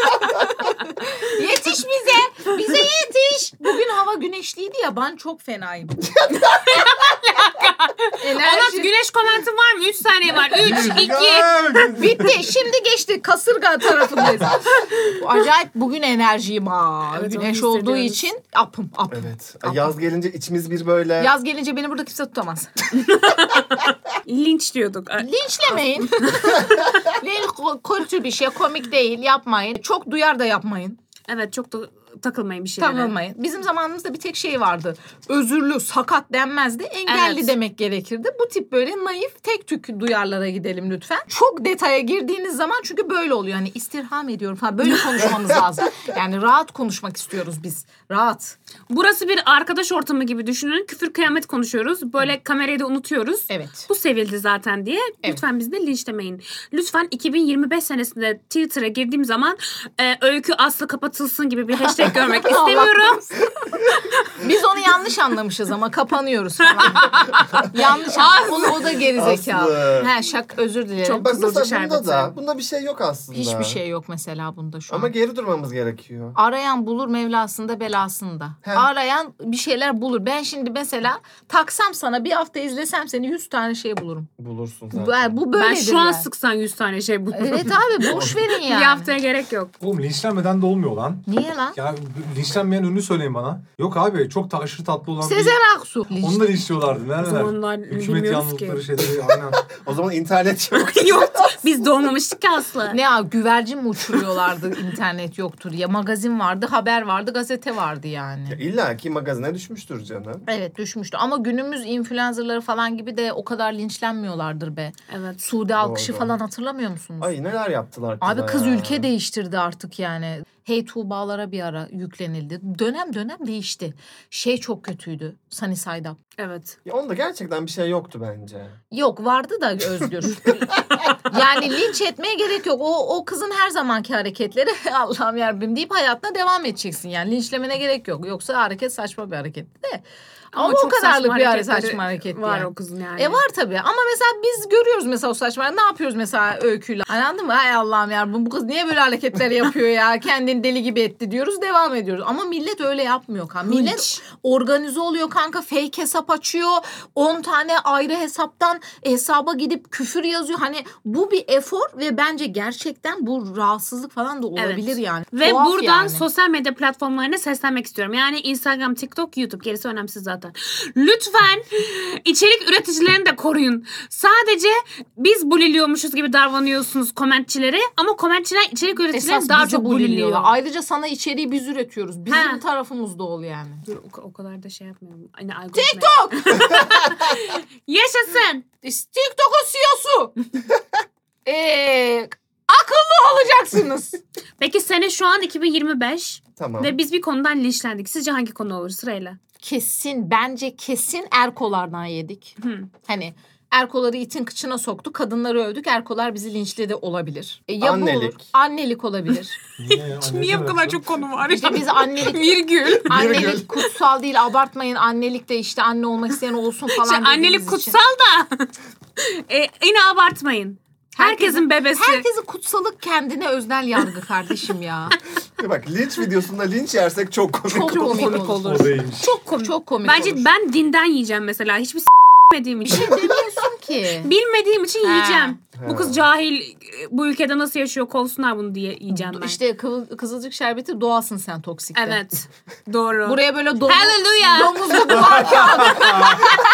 Speaker 4: yetiş bize. Bize yetiş. Bugün hava güneşliydi ya ben çok fenayım.
Speaker 3: Onat
Speaker 4: Enerji
Speaker 3: güneş komentin var mı? 3 saniye var. 3,
Speaker 4: şey-
Speaker 3: 2.
Speaker 4: Bitti. Şimdi geçti. Kasırga tarafındayız. Acayip bugün enerjiyim ha.
Speaker 3: Evet, onu
Speaker 4: Güneş olduğu
Speaker 3: hissediyoruz.
Speaker 4: için apım apım.
Speaker 5: Evet. Yaz gelince içimiz bir böyle.
Speaker 4: Yaz gelince beni burada kimse tutamaz.
Speaker 3: Linç diyorduk.
Speaker 4: Linçlemeyin. Linç ko- kötü bir şey. Komik değil. Yapmayın. Çok duyar da yapmayın.
Speaker 3: Evet çok da takılmayın bir şeylere.
Speaker 4: Takılmayın. Bizim zamanımızda bir tek şey vardı. Özürlü, sakat denmezdi. Engelli
Speaker 3: Evet.
Speaker 4: demek gerekirdi. Bu tip böyle naif, tek tük duyarlara gidelim lütfen. Çok detaya girdiğiniz zaman çünkü böyle oluyor. Hani istirham ediyorum falan. Böyle konuşmamız lazım. Yani rahat konuşmak istiyoruz biz. Rahat.
Speaker 3: Burası bir arkadaş ortamı gibi düşünün. Küfür kıyamet konuşuyoruz. Böyle kamerayı da unutuyoruz.
Speaker 4: Evet.
Speaker 3: Bu sevildi zaten diye. Lütfen bizi de linçlemeyin. Lütfen 2025 senesinde Twitter'a girdiğim zaman e, öykü aslı kapatılsın gibi bir hashtag görmek istemiyorum.
Speaker 4: Biz onu yanlış anlamışız ama kapanıyoruz falan. yanlış anlamışız. O da gerizekalı.
Speaker 5: Aslı.
Speaker 4: He şak özür dilerim.
Speaker 3: Çok-
Speaker 5: Bak
Speaker 3: Kızılcı
Speaker 5: mesela
Speaker 3: şerbeti.
Speaker 5: bunda da. Bunda bir şey yok aslında.
Speaker 4: Hiçbir şey yok mesela bunda şu an.
Speaker 5: Ama geri durmamız gerekiyor.
Speaker 4: Arayan bulur Mevlasında belasında.
Speaker 5: He.
Speaker 4: Arayan bir şeyler bulur. Ben şimdi mesela taksam sana bir hafta izlesem seni 100 tane şey bulurum.
Speaker 5: Bulursun
Speaker 4: Bu,
Speaker 5: zaten.
Speaker 4: bu
Speaker 3: ben
Speaker 4: böyledir
Speaker 3: şu an
Speaker 4: yani.
Speaker 3: sıksan 100 tane şey bulurum.
Speaker 4: Evet abi boş verin yani.
Speaker 3: Bir haftaya gerek yok.
Speaker 2: Oğlum linçlenmeden de olmuyor lan.
Speaker 4: Niye lan?
Speaker 2: Ya linçlenmeyen ünlü söyleyin bana. Yok abi çok da aşırı tatlı olan.
Speaker 4: Sezen Aksu.
Speaker 2: Onu da linçliyorlardı.
Speaker 3: O
Speaker 2: Neredeler?
Speaker 3: zamanlar
Speaker 2: Hükümet
Speaker 3: bilmiyoruz ki.
Speaker 2: yanlılıkları şeyleri aynen.
Speaker 5: O zaman internet yok.
Speaker 3: Yoktu. Biz doğmamıştık ki aslı.
Speaker 4: Ne ya güvercin mi uçuruyorlardı internet yoktur ya magazin vardı haber vardı gazete vardı yani.
Speaker 5: Ya İlla ki magazine düşmüştür canım.
Speaker 4: Evet düşmüştü ama günümüz influencerları falan gibi de o kadar linçlenmiyorlardır be.
Speaker 3: Evet.
Speaker 4: Sude Alkış'ı
Speaker 5: Doğru.
Speaker 4: falan hatırlamıyor musunuz?
Speaker 5: Ay neler yaptılar kıza
Speaker 4: Abi kız
Speaker 5: ya.
Speaker 4: ülke değiştirdi artık yani. Hey Tuğba'lara bir ara yüklenildi. Dönem dönem değişti. Şey çok kötüydü Sunny Side Up.
Speaker 3: Evet.
Speaker 5: Ya onda gerçekten bir şey yoktu bence.
Speaker 4: Yok vardı da Özgür. yani linç etmeye gerek yok. O, o kızın her zamanki hareketleri Allah'ım yarabbim deyip hayatına devam edeceksin. Yani linçlemene gerek yok. Yoksa hareket saçma bir hareket de. Ama, o
Speaker 3: çok
Speaker 4: kadarlık
Speaker 3: saçma
Speaker 4: bir hare-
Speaker 3: hareketleri
Speaker 4: saçma hareket
Speaker 3: Var
Speaker 4: yani.
Speaker 3: o kızın yani.
Speaker 4: E var tabii ama mesela biz görüyoruz mesela o saçma ne yapıyoruz mesela öyküyle anladın mı? Ay Allah'ım ya bu kız niye böyle hareketler yapıyor ya kendini deli gibi etti diyoruz devam ediyoruz. Ama millet öyle yapmıyor kanka. Millet organize oluyor kanka fake hesap açıyor 10 tane ayrı hesaptan hesaba gidip küfür yazıyor. Hani bu bir efor ve bence gerçekten bu rahatsızlık falan da olabilir
Speaker 3: Evet.
Speaker 4: yani.
Speaker 3: Ve
Speaker 4: Tuhaf
Speaker 3: buradan
Speaker 4: yani.
Speaker 3: sosyal medya platformlarına seslenmek istiyorum. Yani Instagram, TikTok, YouTube gerisi önemsiz zaten. Lütfen içerik üreticilerini de koruyun. Sadece biz buliliyormuşuz gibi davranıyorsunuz komentçilere ama komentçiler içerik üreticilerini
Speaker 4: Esas
Speaker 3: daha
Speaker 4: bizi
Speaker 3: çok
Speaker 4: buliliyor.
Speaker 3: buliliyor.
Speaker 4: Ayrıca sana içeriği biz üretiyoruz. Bizim
Speaker 3: Ha.
Speaker 4: tarafımızda ol yani.
Speaker 3: Dur, o, o kadar da şey yapmıyorum. Hani TikTok! Yaşasın!
Speaker 4: TikTok'un E CEO'su. Eee Ee, akıllı olacaksınız.
Speaker 3: Peki sene şu an 2025
Speaker 5: Tamam.
Speaker 3: ve biz bir konudan linçlendik. Sizce hangi konu olur sırayla?
Speaker 4: kesin bence kesin erkolardan yedik.
Speaker 3: Hı.
Speaker 4: Hani erkoları itin kıçına soktu. Kadınları övdük. Erkolar bizi linçledi olabilir. E, ya Bu olur.
Speaker 5: Annelik.
Speaker 4: Annelik olabilir.
Speaker 3: konu var?
Speaker 4: işte biz annelik
Speaker 3: Virgül.
Speaker 4: annelik kutsal değil abartmayın. Annelik de işte anne olmak isteyen olsun falan.
Speaker 3: Şey, annelik
Speaker 4: dediğimiz için.
Speaker 3: kutsal da e, yine abartmayın. Herkesin, bebesi.
Speaker 4: Herkesin kutsalık kendine öznel yargı kardeşim ya.
Speaker 5: Bak linç videosunda linç yersek çok komik.
Speaker 4: Çok
Speaker 5: olur.
Speaker 4: komik olur.
Speaker 2: O değilmiş.
Speaker 3: çok komik.
Speaker 4: Çok komik
Speaker 3: Bence
Speaker 4: olur.
Speaker 3: ben dinden yiyeceğim mesela. Hiçbir s- bilmediğim
Speaker 4: Bir şey
Speaker 3: için.
Speaker 4: demiyorsun ki.
Speaker 3: Bilmediğim için
Speaker 4: Ha.
Speaker 3: yiyeceğim. Bu
Speaker 5: Ha.
Speaker 3: kız cahil e, bu ülkede nasıl yaşıyor kovsunlar bunu diye yiyeceğim ben.
Speaker 4: İşte kıvıl- kızılcık şerbeti doğasın sen toksikte.
Speaker 3: Evet. Doğru.
Speaker 4: Buraya böyle domuz,
Speaker 3: Hallelujah.
Speaker 4: domuzlu duvar kağıdı.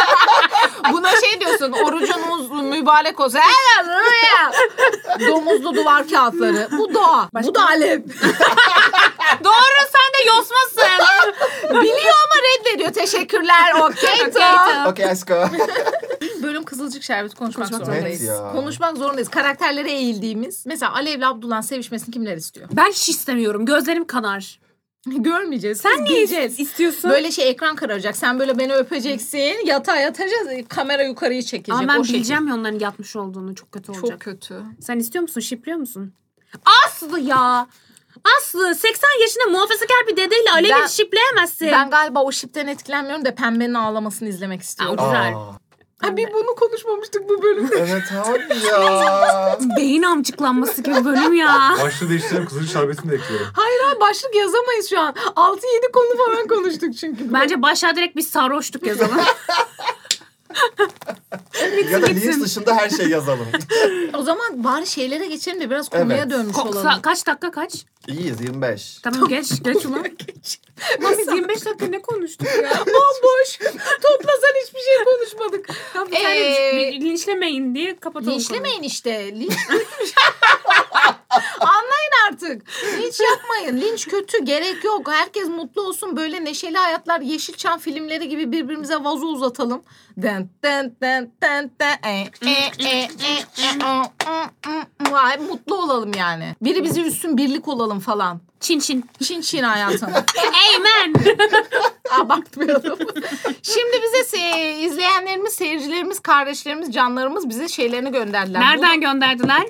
Speaker 4: Buna şey diyorsun orucunuz mübarek olsun. Hallelujah. domuzlu duvar kağıtları. Bu doğa. Bu da alev.
Speaker 3: Doğru sen de yosmasın.
Speaker 4: Biliyor ama reddediyor. Teşekkürler. Okey. tamam.
Speaker 3: Potato.
Speaker 5: Okey let's go.
Speaker 4: Bölüm kızılcık şerbeti konuşmak,
Speaker 3: Konuşmak
Speaker 4: zorundayız.
Speaker 5: zorundayız. Evet ya.
Speaker 4: Konuşmak zorundayız. Karakterlere eğildiğimiz. Mesela Alev'le Abdullah'ın sevişmesini kimler istiyor?
Speaker 3: ben hiç istemiyorum. Gözlerim kanar.
Speaker 4: Görmeyeceğiz.
Speaker 3: Sen niye
Speaker 4: Gideceğiz.
Speaker 3: istiyorsun?
Speaker 4: Böyle şey ekran kararacak. Sen böyle beni öpeceksin. Yatağa yatacağız. Kamera yukarıyı çekecek.
Speaker 3: Ama ben
Speaker 4: o şekil.
Speaker 3: bileceğim ya onların yatmış olduğunu. Çok kötü olacak.
Speaker 4: Çok kötü.
Speaker 3: Sen istiyor musun? Şipliyor musun? Aslı ya. Aslı 80 yaşında muhafazakar bir dedeyle Alev'i
Speaker 4: Ben-
Speaker 3: şipleyemezsin.
Speaker 4: Ben galiba o şipten etkilenmiyorum da pembenin ağlamasını izlemek istiyorum.
Speaker 3: Aa, Güzel.
Speaker 5: Aa,
Speaker 4: Ha, bir bunu konuşmamıştık bu bölümde.
Speaker 5: evet abi ya.
Speaker 3: Beyin amcıklanması gibi bölüm ya.
Speaker 2: Başlığı değiştirelim kızılcık şerbetini de ekliyorum.
Speaker 4: Hayır hayır başlık yazamayız şu an. 6-7 konu falan konuştuk çünkü.
Speaker 3: Bence başa direkt biz sarhoştuk yazalım.
Speaker 5: ya da linç
Speaker 3: Bitsin.
Speaker 5: dışında her şey yazalım.
Speaker 4: O zaman bari şeylere geçelim de biraz konuya
Speaker 5: Evet.
Speaker 4: dönmüş
Speaker 3: Ko-
Speaker 4: olalım.
Speaker 3: sa- kaç dakika kaç?
Speaker 5: İyiyiz 25.
Speaker 3: Tamam geç geç ulan. Ulan biz 25 dakika ne konuştuk ya?
Speaker 4: Bomboş. Toplasan hiçbir şey konuşmadık.
Speaker 3: Ya bir tane
Speaker 4: Ee,
Speaker 3: bir linçlemeyin diye kapatalım.
Speaker 4: Linçlemeyin işte. Linç Anlayın artık. Linç yapmayın. Linç kötü. Gerek yok. Herkes mutlu olsun. Böyle neşeli hayatlar Yeşilçam filmleri gibi birbirimize vazo uzatalım. Den den den den den. E, e, e, e, e, o, o, o. Vay, mutlu olalım yani. Biri bizi üssün birlik olalım falan.
Speaker 3: konuyu. Çin çin.
Speaker 4: Çin çin hayatım.
Speaker 3: Amen.
Speaker 4: Abartmayalım. Şimdi bize se- izleyenlerimiz, seyircilerimiz, kardeşlerimiz, canlarımız bize şeylerini gönderdiler.
Speaker 3: Nereden gönderdiler?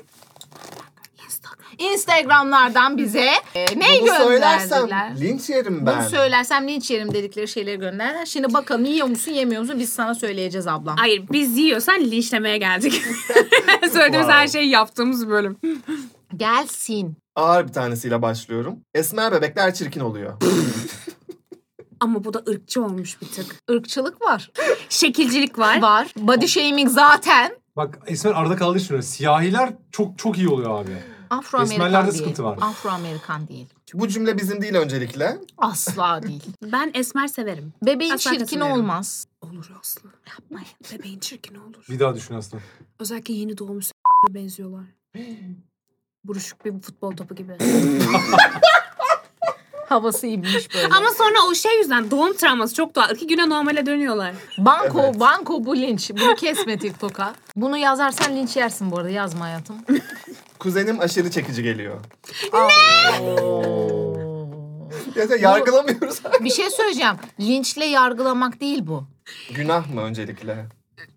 Speaker 4: Instagram'lardan bize e, ne
Speaker 5: Bunu söylersem
Speaker 4: gönderdiler?
Speaker 5: linç yerim ben.
Speaker 4: Bunu söylersem linç yerim dedikleri şeyleri gönderdiler. Şimdi bakalım yiyor musun yemiyor musun biz sana söyleyeceğiz ablam.
Speaker 3: Hayır biz yiyorsan linçlemeye geldik. Söylediğimiz her şeyi yaptığımız bölüm.
Speaker 4: Gelsin.
Speaker 5: Ağır bir tanesiyle başlıyorum. Esmer bebekler çirkin oluyor.
Speaker 3: Ama bu da ırkçı olmuş bir tık.
Speaker 4: Irkçılık var.
Speaker 3: Şekilcilik var.
Speaker 4: Var. Body shaming zaten.
Speaker 2: Bak Esmer arada kaldı için öyle. Siyahiler çok çok iyi oluyor abi.
Speaker 4: Afro-Amerikan
Speaker 2: Esmerlerde
Speaker 4: değil.
Speaker 2: sıkıntı var.
Speaker 4: Afro-Amerikan değil.
Speaker 5: Bu cümle bizim değil öncelikle.
Speaker 4: Asla değil.
Speaker 3: Ben esmer severim.
Speaker 4: Bebeğin
Speaker 3: Asla
Speaker 4: çirkin
Speaker 3: katılıyorum.
Speaker 4: olmaz.
Speaker 3: Olur Aslı. Yapmayın. Bebeğin çirkin olur.
Speaker 2: Bir daha düşün aslında.
Speaker 3: Özellikle yeni doğmuş benziyorlar. Buruşuk bir futbol topu gibi.
Speaker 4: Havası inmiş böyle.
Speaker 3: Ama sonra o şey yüzden doğum travması çok doğal. İki güne normale dönüyorlar.
Speaker 4: Banko,
Speaker 5: Evet.
Speaker 4: banko bu linç. Bunu kesme TikTok'a. Bunu yazarsan linç yersin bu arada. Yazma hayatım.
Speaker 5: Kuzenim aşırı çekici geliyor.
Speaker 4: Ne?
Speaker 5: Ya sen yargılamıyoruz.
Speaker 4: Bir şey söyleyeceğim. Linçle yargılamak değil bu.
Speaker 5: Günah mı öncelikle?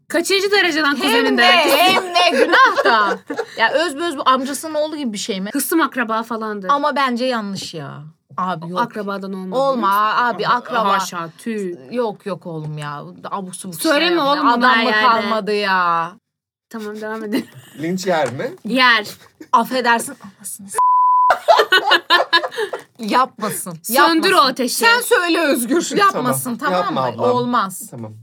Speaker 3: Kaçıncı dereceden
Speaker 4: Hem ne
Speaker 3: kuzenin derken?
Speaker 4: hem ne günah da. Ya özböz bu amcasının oğlu gibi bir şey mi?
Speaker 3: Kısım akraba falandı.
Speaker 4: Ama bence yanlış ya. Abi yok.
Speaker 3: Akrabadan olmadı.
Speaker 4: Olma abi akraba.
Speaker 3: Haşa tüy.
Speaker 4: Yok yok oğlum ya. Abuk subuk
Speaker 3: Söyleme
Speaker 4: şeyler.
Speaker 3: oğlum bunu
Speaker 4: Adam
Speaker 3: her
Speaker 4: mı
Speaker 3: yerde.
Speaker 4: kalmadı ya.
Speaker 3: Tamam devam edelim.
Speaker 5: Linç yer mi?
Speaker 3: Yer.
Speaker 4: Affedersin. Anasını s- Yapmasın.
Speaker 3: Söndür o
Speaker 4: yapmasın.
Speaker 3: ateşi.
Speaker 4: Sen söyle Özgür. Yapmasın
Speaker 5: Tamam,
Speaker 4: tamam, mı?
Speaker 5: yapma ablam.
Speaker 4: Olmaz.
Speaker 5: Tamam.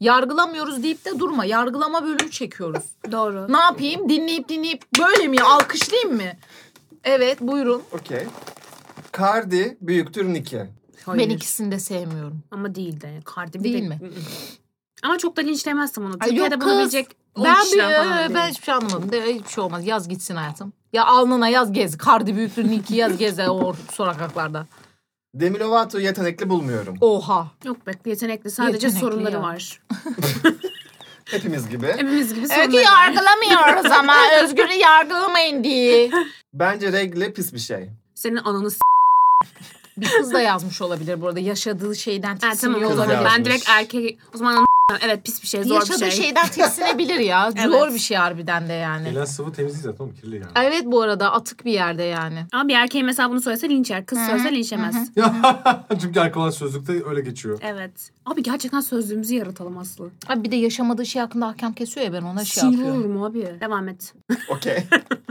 Speaker 4: Yargılamıyoruz deyip de durma. Yargılama bölümü çekiyoruz.
Speaker 3: Doğru.
Speaker 4: Ne yapayım? Dinleyip dinleyip böyle mi? Alkışlayayım mı? Evet buyurun.
Speaker 5: Okey. Cardi büyüktür Nicki.
Speaker 3: Hayır.
Speaker 4: Ben ikisini de sevmiyorum.
Speaker 3: Ama değil de. Cardi B
Speaker 4: Değil
Speaker 3: de-
Speaker 4: mi?
Speaker 3: Ama çok da linçlemezsin onu.
Speaker 4: Ay
Speaker 3: Türkiye'de
Speaker 4: yok
Speaker 3: bunu
Speaker 4: kız.
Speaker 3: bilecek on
Speaker 4: Ben, bir,
Speaker 3: kişiden falan
Speaker 4: ben
Speaker 3: değil.
Speaker 4: hiçbir şey anlamadım. De, hiçbir şey olmaz. Yaz gitsin hayatım. Ya alnına yaz gez. Kardi büyüklüğünü iki yaz gez de o sokaklarda.
Speaker 5: Demi Lovato'yu yetenekli bulmuyorum.
Speaker 4: Oha.
Speaker 3: Yok be yetenekli. Sadece
Speaker 4: Yetenekli
Speaker 3: sorunları
Speaker 4: ya.
Speaker 3: var.
Speaker 5: Hepimiz gibi.
Speaker 3: Hepimiz gibi sorunları
Speaker 4: Öykü
Speaker 3: var.
Speaker 4: yargılamıyoruz ama Özgür'ü yargılamayın diye.
Speaker 5: Bence regle pis bir şey.
Speaker 3: Senin ananı s-
Speaker 4: Bir kız da yazmış olabilir bu arada. Yaşadığı şeyden
Speaker 3: Ha, tamam
Speaker 4: tiksiniyor
Speaker 3: o zaman.
Speaker 5: Kız
Speaker 4: olabilir.
Speaker 5: yazmış.
Speaker 3: Ben direkt erkek... O zaman ananı s- Evet pis bir şey. Zor
Speaker 4: Yaşadığı
Speaker 3: bir şey.
Speaker 4: şeyden tiksinebilir ya.
Speaker 3: Evet.
Speaker 4: Zor bir şey harbiden de yani.
Speaker 2: Biraz sıvı temiz değil zaten oğlum kirli yani.
Speaker 4: Evet bu arada atık bir yerde yani.
Speaker 3: Ama bir erkeğin mesela bunu söylese linç yer. Kız söylese linçlemez.
Speaker 2: Çünkü arkadan sözlükte öyle geçiyor.
Speaker 3: Evet. Abi gerçekten sözlüğümüzü yaratalım Aslı.
Speaker 4: Abi bir de yaşamadığı şey hakkında hakem kesiyor ya ben ona şey
Speaker 3: Sinir
Speaker 4: yapıyorum.
Speaker 3: olurum abi. Devam et.
Speaker 5: Okey.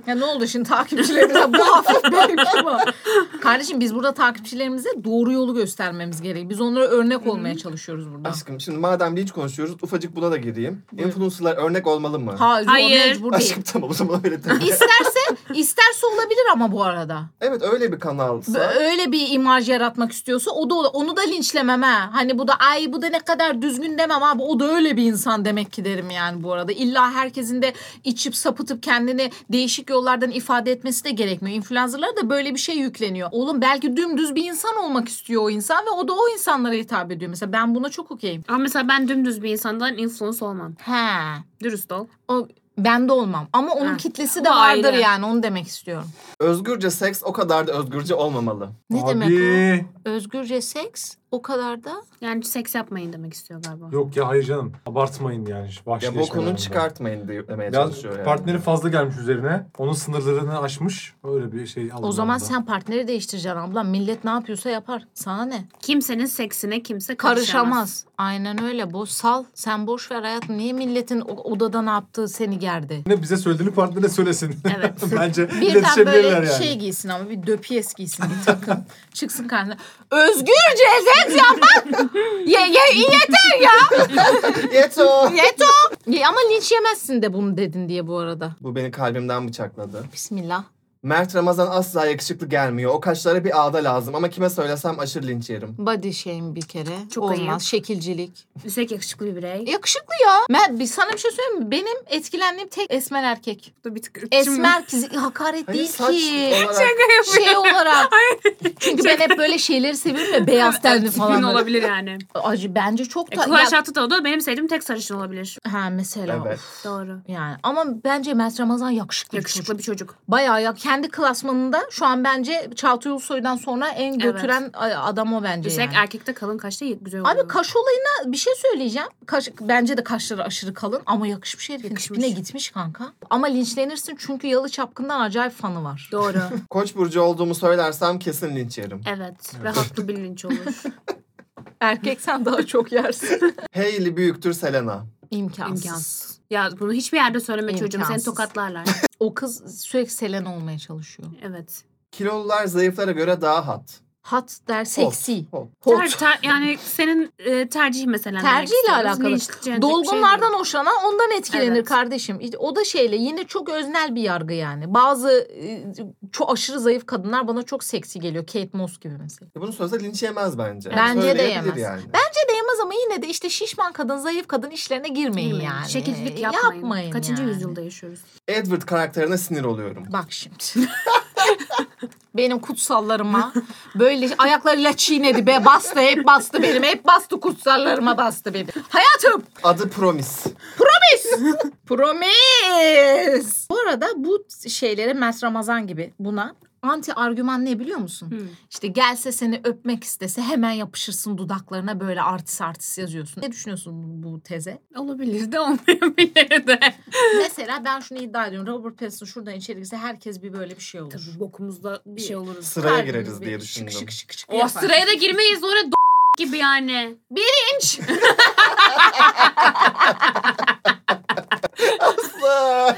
Speaker 4: Ya ne oldu şimdi takipçilerimize bu hafif benimki mi? Kardeşim biz burada takipçilerimize doğru yolu göstermemiz gerek. Biz onlara örnek olmaya çalışıyoruz burada.
Speaker 5: Aşkım şimdi madem linç konuşuyoruz ufacık buna da gireyim. Influencerlar örnek olmalı mı?
Speaker 4: Hayır,
Speaker 3: Hayır.
Speaker 4: Hayır. mecbur değil.
Speaker 5: Aşkım tamam o zaman öyle tabii.
Speaker 4: İsterse, isterse olabilir ama bu arada.
Speaker 5: evet öyle bir
Speaker 4: B-
Speaker 5: kanalsa.
Speaker 4: Öyle bir imaj yaratmak istiyorsa o da ola- onu da linçlemem ha. Hani bu da ay bu da ne kadar düzgün demem abi. O da öyle bir insan demek ki derim yani bu arada. İlla herkesin de içip sapıtıp kendini değişik yollardan ifade etmesi de gerekmiyor. İnfluencerlara da böyle bir şey yükleniyor. Oğlum belki dümdüz bir insan olmak istiyor o insan ve o da o insanlara hitap ediyor. Mesela ben buna çok okeyim.
Speaker 3: Ama mesela ben dümdüz bir insandan influence olmam.
Speaker 4: He.
Speaker 3: Dürüst ol.
Speaker 4: O ben de olmam ama onun
Speaker 3: Ha.
Speaker 4: kitlesi de
Speaker 3: O
Speaker 4: vardır
Speaker 3: ayrı.
Speaker 4: yani onu demek istiyorum.
Speaker 5: Özgürce seks o kadar da özgürce olmamalı.
Speaker 4: Ne
Speaker 2: Abi,
Speaker 4: demek o? Özgürce seks o kadar da
Speaker 3: Yani seks yapmayın demek istiyor galiba.
Speaker 2: Yok ya hayır canım. Abartmayın yani.
Speaker 5: Ya
Speaker 2: Vahşileşme
Speaker 5: bokunu
Speaker 2: yani.
Speaker 5: çıkartmayın diye demeye
Speaker 2: Biraz
Speaker 5: çalışıyor yani.
Speaker 2: partneri fazla gelmiş üzerine. Onun sınırlarını aşmış. Öyle bir şey
Speaker 4: O zaman
Speaker 2: anlamında.
Speaker 4: sen partneri değiştireceksin ablam. Millet ne yapıyorsa yapar. Sana ne?
Speaker 3: Kimsenin seksine kimse karışamaz.
Speaker 4: Karışamaz. Aynen öyle. Bu sal. Sen boş ver hayatım. Niye milletin o- odada ne yaptığı seni gerdi?
Speaker 2: Ne bize söylediğini partnere söylesin.
Speaker 3: Evet.
Speaker 2: Bence
Speaker 4: Birden böyle
Speaker 2: iletişebilirler yani.
Speaker 4: şey giysin ama bir döpiyes giysin bir takım. Çıksın karnına. Özgürce seks yapmak. ye, ye, yeter ya.
Speaker 5: Yeto!
Speaker 4: Yeto. Ye, ama linç yemezsin de bunu dedin diye bu arada.
Speaker 5: Bu beni kalbimden bıçakladı.
Speaker 4: Bismillah.
Speaker 5: Mert Ramazan asla yakışıklı gelmiyor. O kaşlara bir ağda lazım ama kime söylesem aşırı linç yerim.
Speaker 4: Body shame bir kere.
Speaker 3: Çok
Speaker 4: Olmaz.
Speaker 3: ayıp.
Speaker 4: Şekilcilik.
Speaker 3: Üstelik yakışıklı bir birey.
Speaker 4: Yakışıklı ya. Ben bir sana bir şey söyleyeyim mi? Benim etkilendiğim tek esmer erkek.
Speaker 3: Bir tık ırkçı mı?
Speaker 4: Esmer kız hakaret
Speaker 5: Hayır
Speaker 4: değil
Speaker 5: saç
Speaker 4: ki.
Speaker 5: olarak
Speaker 4: Şey olarak. Çünkü ben hep böyle şeyleri seviyorum ya beyaz tenli
Speaker 3: Tipin
Speaker 4: falan. böyle.
Speaker 3: olabilir yani.
Speaker 4: Acı bence çok
Speaker 3: E,
Speaker 4: da.
Speaker 3: Kıvanç
Speaker 4: ya-
Speaker 3: Tatlıtuğ da benim sevdiğim tek sarışın olabilir.
Speaker 4: ha mesela.
Speaker 5: Evet.
Speaker 3: Doğru.
Speaker 4: Yani ama bence Mert Ramazan yakışıklı, yakışıklı.
Speaker 3: Yakışıklı bir çocuk.
Speaker 4: Bayağı ya kendi klasmanında şu an bence Çağatay Ulusoy'dan sonra en götüren a- adam o bence.
Speaker 3: Üstelik
Speaker 4: yani.
Speaker 3: erkekte kalın kaşta güzel oluyor.
Speaker 4: Abi kaş olayına bir şey söyleyeceğim. Kaş, bence de kaşları aşırı kalın ama yakışmış herifin
Speaker 3: Yakışmış.
Speaker 4: tipine gitmiş kanka. Ama linçlenirsin çünkü Yalı Çapkın'dan acayip fanı var.
Speaker 3: Doğru.
Speaker 5: Koç burcu olduğumu söylersem kesin linç yerim.
Speaker 3: Evet. Ve haklı bir linç olur.
Speaker 4: Erkek sen daha çok yersin.
Speaker 5: Hailey büyüktür Selena.
Speaker 4: İmkansız.
Speaker 3: İmkansız. Ya bunu hiçbir yerde söyleme çocuğum. Seni
Speaker 4: İmkansız.
Speaker 3: tokatlarlar.
Speaker 4: O kız sürekli selen olmaya çalışıyor.
Speaker 3: Evet.
Speaker 5: Kilolular zayıflara göre daha hat.
Speaker 4: Hat der seksi.
Speaker 5: Hot.
Speaker 4: Hot.
Speaker 3: Ter- ter- yani senin e, tercih mesela. demek
Speaker 4: Tercihle
Speaker 3: istiyoruz.
Speaker 4: alakalı.
Speaker 3: Linçlenecek
Speaker 4: Dolgunlardan
Speaker 3: bir
Speaker 4: hoşlanan ondan etkilenir
Speaker 3: Evet.
Speaker 4: kardeşim. İşte O da şeyle yine çok öznel bir yargı yani. Bazı e, çok aşırı zayıf kadınlar bana çok seksi geliyor. Kate Moss gibi mesela.
Speaker 5: Ya E Bunu söylese linç yemez bence.
Speaker 4: Bence de
Speaker 5: Söyleyebilir
Speaker 4: yemez.
Speaker 5: Yani.
Speaker 4: Bence değmez ama yine de işte şişman kadın, zayıf kadın işlerine girmeyin,
Speaker 3: şey değil.
Speaker 4: yani. E,
Speaker 3: Şekilcilik yapmayın. Kaçıncı
Speaker 4: yani.
Speaker 3: yüzyılda yaşıyoruz?
Speaker 5: Edward karakterine sinir oluyorum.
Speaker 4: Bak şimdi. benim kutsallarıma böyle ayaklarıyla çiğnedi be bastı hep bastı benim hep bastı kutsallarıma bastı benim. Hayatım
Speaker 5: Adı Promis.
Speaker 4: promis. Bu arada bu şeylere Mert Ramazan gibi buna Anti argüman ne biliyor musun?
Speaker 3: Hı.
Speaker 4: İşte gelse seni öpmek istese hemen yapışırsın dudaklarına böyle artist artist yazıyorsun. Ne düşünüyorsun bu, bu teze?
Speaker 3: Olabilir de olmayabilir de.
Speaker 4: Mesela ben şunu iddia ediyorum. Robert Pattinson şuradan içeri girse herkes bir böyle bir şey olur.
Speaker 3: Tabii bokumuzda bir şey oluruz.
Speaker 5: Sıraya
Speaker 4: Kalbimiz
Speaker 5: gireriz
Speaker 4: bir
Speaker 5: diye
Speaker 4: şık
Speaker 5: düşündüm.
Speaker 4: şık şık şık
Speaker 3: O
Speaker 4: yapar.
Speaker 3: sıraya da girmeyiz oraya d- gibi yani. Birinci.
Speaker 5: Aslı.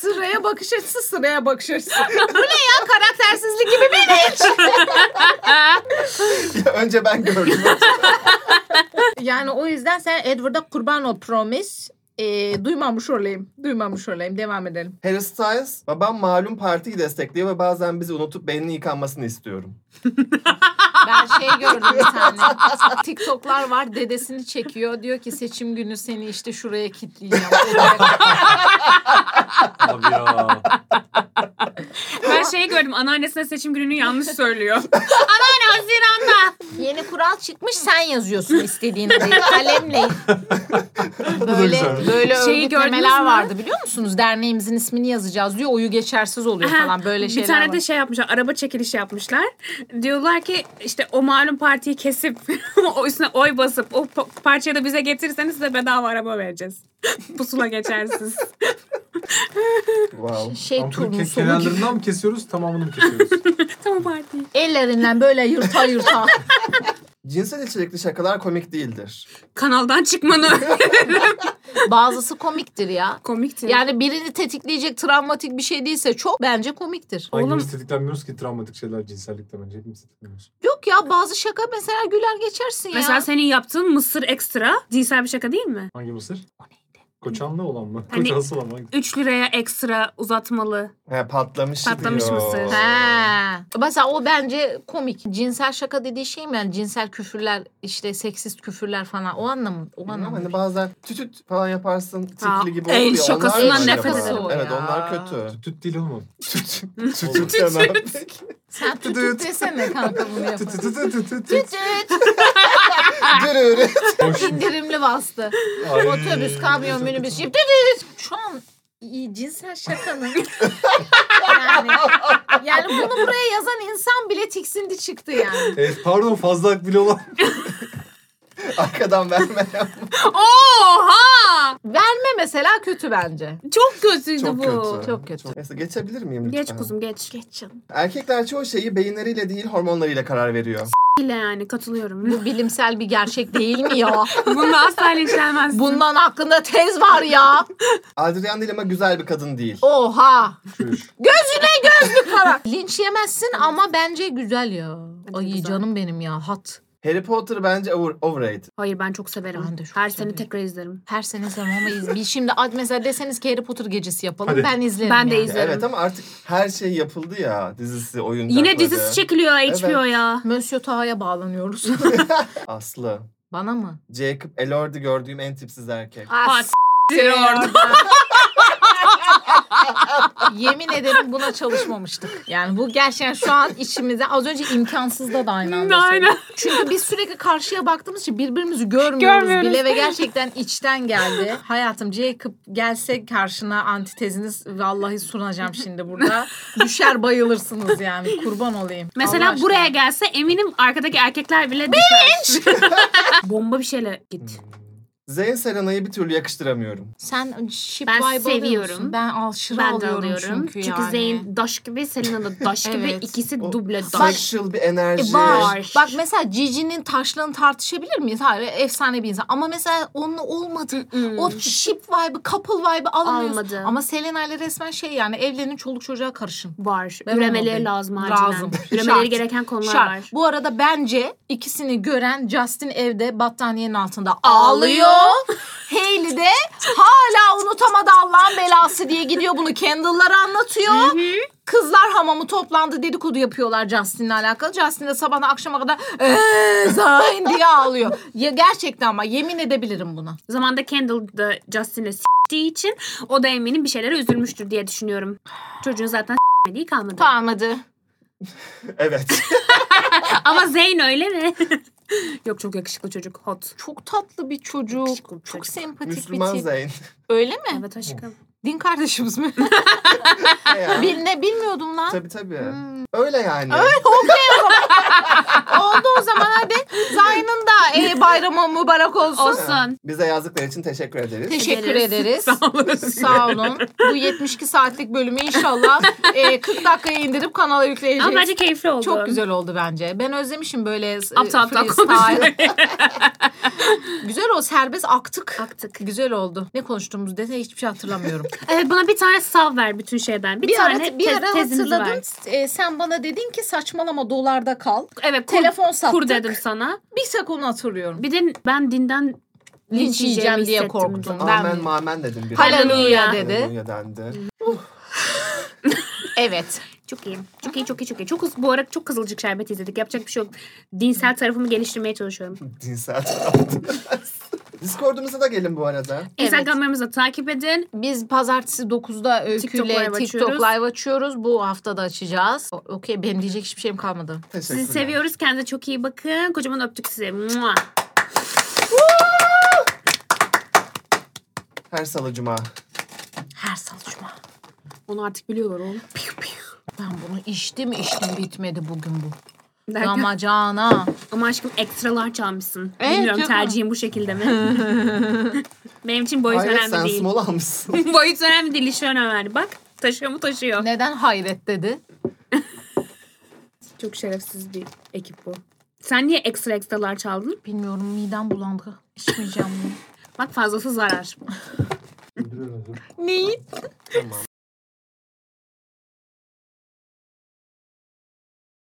Speaker 4: Sıraya bakış açısı sıraya bakış açısı. Bu ne ya karaktersizlik gibi bir şey. hiç.
Speaker 5: Ya önce ben gördüm.
Speaker 4: Yani o yüzden sen Edward'a kurban ol promise. Ee, duymamış olayım. Duymamış olayım. Devam edelim.
Speaker 5: Harry Styles, babam malum partiyi destekliyor ve bazen bizi unutup beynini yıkanmasını istiyorum.
Speaker 4: Ben şey gördüm bir tane. TikTok'lar var. Dedesini çekiyor. Diyor ki seçim günü seni işte şuraya kilitleyeceğim.
Speaker 2: Abi ya.
Speaker 3: ben şeyi gördüm anneannesine seçim gününü yanlış söylüyor. Anneanne Haziran'da.
Speaker 4: Yeni kural çıkmış sen yazıyorsun istediğini diye kalemle.
Speaker 2: güzel.
Speaker 4: böyle böyle
Speaker 3: Şeyi gördünüz
Speaker 4: örgütlemeler
Speaker 3: mü?
Speaker 4: vardı biliyor musunuz? Derneğimizin ismini yazacağız diyor. Oyu geçersiz oluyor
Speaker 3: Aha,
Speaker 4: falan böyle şeyler
Speaker 3: bir tane
Speaker 4: var.
Speaker 3: de şey yapmışlar. Araba çekilişi yapmışlar. Diyorlar ki işte o malum partiyi kesip o üstüne oy basıp o pa- parçayı da bize getirirseniz size bedava araba vereceğiz. Pusula geçersiz.
Speaker 5: Wow.
Speaker 4: şey turun
Speaker 2: Ke-
Speaker 4: sonu gibi.
Speaker 2: kenarlarından mı kesiyoruz tamamını mı kesiyoruz?
Speaker 3: Tam parti.
Speaker 4: Ellerinden böyle yırta yırta.
Speaker 5: Cinsel içerikli şakalar komik değildir.
Speaker 3: Kanaldan çıkmanı
Speaker 4: Bazısı komiktir ya.
Speaker 3: komikti.
Speaker 4: Yani birini tetikleyecek travmatik bir şey değilse çok bence komiktir.
Speaker 2: Hangimiz tetiklenmiyoruz ki travmatik şeyler cinsellikte bence hepimiz tetikleniyoruz.
Speaker 4: Yok ya bazı şaka mesela güler geçersin ya.
Speaker 3: Mesela senin yaptığın mısır ekstra cinsel bir şaka değil mi?
Speaker 2: Hangi mısır? O neydi? Koçanlı olan mı?
Speaker 3: Hani-
Speaker 2: Koçansı olan mı? Hangi-
Speaker 3: 3 liraya ekstra uzatmalı.
Speaker 5: He, patlamış
Speaker 3: Patlamış
Speaker 5: diyor.
Speaker 3: mısır.
Speaker 4: He. Mesela o bence komik. Cinsel şaka dediği şey mi yani cinsel küfürler işte seksist küfürler falan o anlamı o
Speaker 5: Bilmem,
Speaker 4: anlamı.
Speaker 5: hani bazen tütüt falan yaparsın
Speaker 3: Aa,
Speaker 5: tikli gibi olur
Speaker 3: el
Speaker 5: ya. onlar
Speaker 3: şakasından
Speaker 5: acaba?
Speaker 3: nefret
Speaker 4: ediyorum.
Speaker 5: Evet
Speaker 4: Ya.
Speaker 5: onlar kötü.
Speaker 2: Tüt değil oğlum.
Speaker 5: Tütüt.
Speaker 2: Tütüt.
Speaker 5: Tütüt demem. Peki.
Speaker 4: Sen tüt
Speaker 2: Tüt.
Speaker 4: tüt desene kanka bunu yapar.
Speaker 2: Tüt
Speaker 4: tüt
Speaker 2: tüt tüt tüt tüt tüt.
Speaker 4: tüt.
Speaker 5: Dürürü.
Speaker 2: Hoş.
Speaker 4: İndirimli bastı.
Speaker 2: Ay.
Speaker 4: Otobüs, kamyon, minibüs, jip tüt tüt. Şu an iyi cinsel şakanın. yani, yani bunu buraya yazan insan bile tiksindi çıktı yani.
Speaker 2: Evet E, pardon fazla hak bile olan.
Speaker 5: Arkadan verme.
Speaker 3: Oha!
Speaker 4: Verme mesela kötü bence.
Speaker 3: Çok kötüydü
Speaker 5: Çok
Speaker 3: bu.
Speaker 5: kötü.
Speaker 4: çok kötü.
Speaker 5: Neyse geçebilir miyim lütfen?
Speaker 3: Geç kuzum geç. Geç canım.
Speaker 5: Erkekler çoğu şeyi beyinleriyle değil hormonlarıyla karar veriyor.
Speaker 3: İle yani katılıyorum.
Speaker 4: Bu bilimsel bir gerçek değil mi ya?
Speaker 3: Bunda asla linçlenmez.
Speaker 4: Bundan hakkında tez var ya.
Speaker 5: Adrian Lima güzel bir kadın değil.
Speaker 4: Oha.
Speaker 2: Çüş.
Speaker 4: Linç yemezsin ama bence güzel ya. Ay
Speaker 3: güzel.
Speaker 4: canım benim ya hat.
Speaker 5: Harry Potter bence over, overrated.
Speaker 3: Hayır ben çok severim.
Speaker 4: Ben de çok
Speaker 3: Her
Speaker 4: severim.
Speaker 3: sene tekrar izlerim.
Speaker 4: Her sene izlemem biz şimdi ad mesela deseniz ki Harry Potter gecesi yapalım
Speaker 2: Hadi.
Speaker 4: ben izlerim.
Speaker 3: Ben de
Speaker 4: yani.
Speaker 3: izlerim.
Speaker 5: Evet ama artık her şey yapıldı ya. Dizisi, oyuncakları.
Speaker 3: Yine dizisi çekiliyor HBO
Speaker 5: Evet.
Speaker 3: ya.
Speaker 4: Monsieur Taha'ya bağlanıyoruz.
Speaker 5: Aslı.
Speaker 4: Bana mı?
Speaker 5: Jacob Elordi gördüğüm en tipsiz erkek.
Speaker 3: Ha, s- orada.
Speaker 4: Yemin ederim buna çalışmamıştık. Yani bu gerçekten şu an içimizde az önce imkansız da aynı anda
Speaker 3: Aynen.
Speaker 4: söyledim. Çünkü biz sürekli karşıya baktığımız için birbirimizi görmüyoruz,
Speaker 3: Görmüyoruz.
Speaker 4: bile ve gerçekten içten geldi. Hayatım Jacob gelse karşına antiteziniz vallahi sunacağım şimdi burada. Düşer bayılırsınız yani kurban olayım. Allah
Speaker 3: Mesela
Speaker 4: aşkına.
Speaker 3: buraya gelse eminim arkadaki erkekler bile düşer. Bomba bir şeyle git.
Speaker 4: Hmm.
Speaker 5: Zeyn Serena'yı bir türlü yakıştıramıyorum.
Speaker 4: Sen şip
Speaker 3: Ben
Speaker 4: vibe alıyor musun?
Speaker 3: seviyorum.
Speaker 4: Ben aşırı
Speaker 3: Ben de
Speaker 4: alıyorum,
Speaker 3: alıyorum.
Speaker 4: çünkü,
Speaker 3: Çünkü,
Speaker 4: yani.
Speaker 3: Zeyn daş gibi, Selena da daş gibi.
Speaker 4: Evet.
Speaker 3: ikisi
Speaker 5: O
Speaker 3: duble daş.
Speaker 5: Sexual bir enerji.
Speaker 4: E, var.
Speaker 3: Var.
Speaker 4: Bak mesela Cici'nin taşlığını tartışabilir miyiz? Hayır efsane bir insan. Ama mesela onunla olmadı.
Speaker 3: Mm-mm.
Speaker 4: O ship vibe'ı, couple vibe'ı alamıyorsun.
Speaker 3: Hmm. Almadı.
Speaker 4: Ama Selena ile resmen şey yani evlenin çoluk çocuğa karışın.
Speaker 3: var.
Speaker 4: Ben
Speaker 3: Üremeleri
Speaker 4: olmadım.
Speaker 3: lazım acilen.
Speaker 4: Lazım.
Speaker 3: Üremeleri
Speaker 4: Şart.
Speaker 3: gereken konular
Speaker 4: Şart.
Speaker 3: var.
Speaker 4: Bu arada bence ikisini gören Justin evde battaniyenin altında
Speaker 3: Ağlıyor.
Speaker 4: ağlıyor. Hailey de hala unutamadı Allah'ın belası diye gidiyor bunu Kendall'lara anlatıyor. Kızlar hamamı toplandı dedikodu yapıyorlar Justin'le alakalı. Justin de sabahına akşama kadar "Ee, Zayn diye ağlıyor. Ya gerçekten ama yemin edebilirim buna.
Speaker 3: Zamanda Kendall da Justin'e s**tiği için o da eminim bir şeylere üzülmüştür diye düşünüyorum. Çocuğun zaten s**mediği kalmadı.
Speaker 4: Tamam hadi.
Speaker 5: Evet.
Speaker 3: Ama Zeyn öyle mi? Yok çok yakışıklı çocuk. Hot.
Speaker 4: Çok tatlı bir çocuk.
Speaker 3: Yakışıklı bir
Speaker 4: Çok
Speaker 3: çocuk.
Speaker 4: sempatik bir
Speaker 5: Müslüman
Speaker 4: tip.
Speaker 5: Zeyn.
Speaker 4: Öyle mi?
Speaker 3: Evet aşkım.
Speaker 4: Din kardeşimiz mi?
Speaker 5: Ne ya?
Speaker 4: Bil, ne bilmiyordum lan.
Speaker 5: Tabii tabii. Öyle yani.
Speaker 4: Oldu o zaman hadi. Zayn'ın da e, bayramı mübarek olsun.
Speaker 3: Olsun.
Speaker 5: Bize yazdıkları için teşekkür ederiz.
Speaker 4: Teşekkür
Speaker 3: Ederiz.
Speaker 4: ederiz.
Speaker 3: Sağ olasın.
Speaker 4: Sağ olun. Bu 72 saatlik bölümü inşallah e, 40 dakikaya indirip kanala yükleyeceğiz.
Speaker 3: Ama bence keyifli oldu.
Speaker 4: Çok güzel oldu bence. Ben özlemişim böyle e,
Speaker 3: Aptal aptal
Speaker 4: freestyle.
Speaker 3: konuşmayı.
Speaker 4: güzel o serbest aktık.
Speaker 3: Aktık.
Speaker 4: Güzel oldu. Ne konuştuğumuzu dese hiçbir şey hatırlamıyorum.
Speaker 3: Evet bana bir tane sav ver bütün şeyden. Bir,
Speaker 4: bir
Speaker 3: tane
Speaker 4: ara bir
Speaker 3: te-
Speaker 4: ara
Speaker 3: tezimizi ver.
Speaker 4: hatırladım. E, sen bana dedin ki saçmalama dolarda kal.
Speaker 3: Evet kur,
Speaker 4: Telefon sattık.
Speaker 3: kur dedim sana.
Speaker 4: Bir tek onu hatırlıyorum.
Speaker 3: Bir de ben dinden
Speaker 4: Linç yiyeceğim diye
Speaker 3: hissettim
Speaker 4: korktum.
Speaker 3: bunu.
Speaker 4: Ben-
Speaker 5: Amen mamen dedim bir.
Speaker 4: Haleluya
Speaker 3: Haleluya.
Speaker 4: dedi.
Speaker 5: Haleluya dendi.
Speaker 4: Evet.
Speaker 3: Çok iyi. Çok iyi, çok iyi, çok iyi. Çok, bu ara çok Kızılcık Şerbeti izledik. Yapacak bir şey yok. Dinsel tarafımı geliştirmeye çalışıyorum.
Speaker 5: Cinsel taraftan. Discord'umuza da gelin bu arada.
Speaker 3: Instagramlarımızı takip edin.
Speaker 4: Biz pazartesi 9'da
Speaker 3: TikTok
Speaker 4: Öykü'yle
Speaker 3: live
Speaker 4: TikTok,
Speaker 3: açıyoruz.
Speaker 4: live açıyoruz. Bu hafta da açacağız. O- Okey benim diyecek hiçbir şeyim kalmadı.
Speaker 5: Teşekkürler.
Speaker 3: Sizi seviyoruz. Kendinize çok iyi bakın. Kocaman öptük sizi. Mua.
Speaker 5: Her salı cuma.
Speaker 4: Her salı cuma.
Speaker 3: Onu artık biliyorlar oğlum.
Speaker 4: Piu piu. Ben bunu içtim içtim bitmedi bugün bu.
Speaker 3: Derken-
Speaker 4: Damacana.
Speaker 3: Ama aşkım ekstralar çalmışsın.
Speaker 4: Evet,
Speaker 3: Bilmiyorum
Speaker 4: yok
Speaker 3: tercihim bu şekilde mi? Benim için boyut
Speaker 5: Hayret sen
Speaker 3: önemli değil.
Speaker 5: small almışsın.
Speaker 3: boyut önemli değil. işi önemli. Bak taşıyor mu taşıyor.
Speaker 4: Neden hayret dedi?
Speaker 3: Çok şerefsiz bir ekip bu. Sen niye ekstra ekstralar çaldın?
Speaker 4: Bilmiyorum midem bulandı. İçmeyeceğim bunu.
Speaker 3: Bak fazlası zarar.
Speaker 4: Neyi?
Speaker 5: tamam.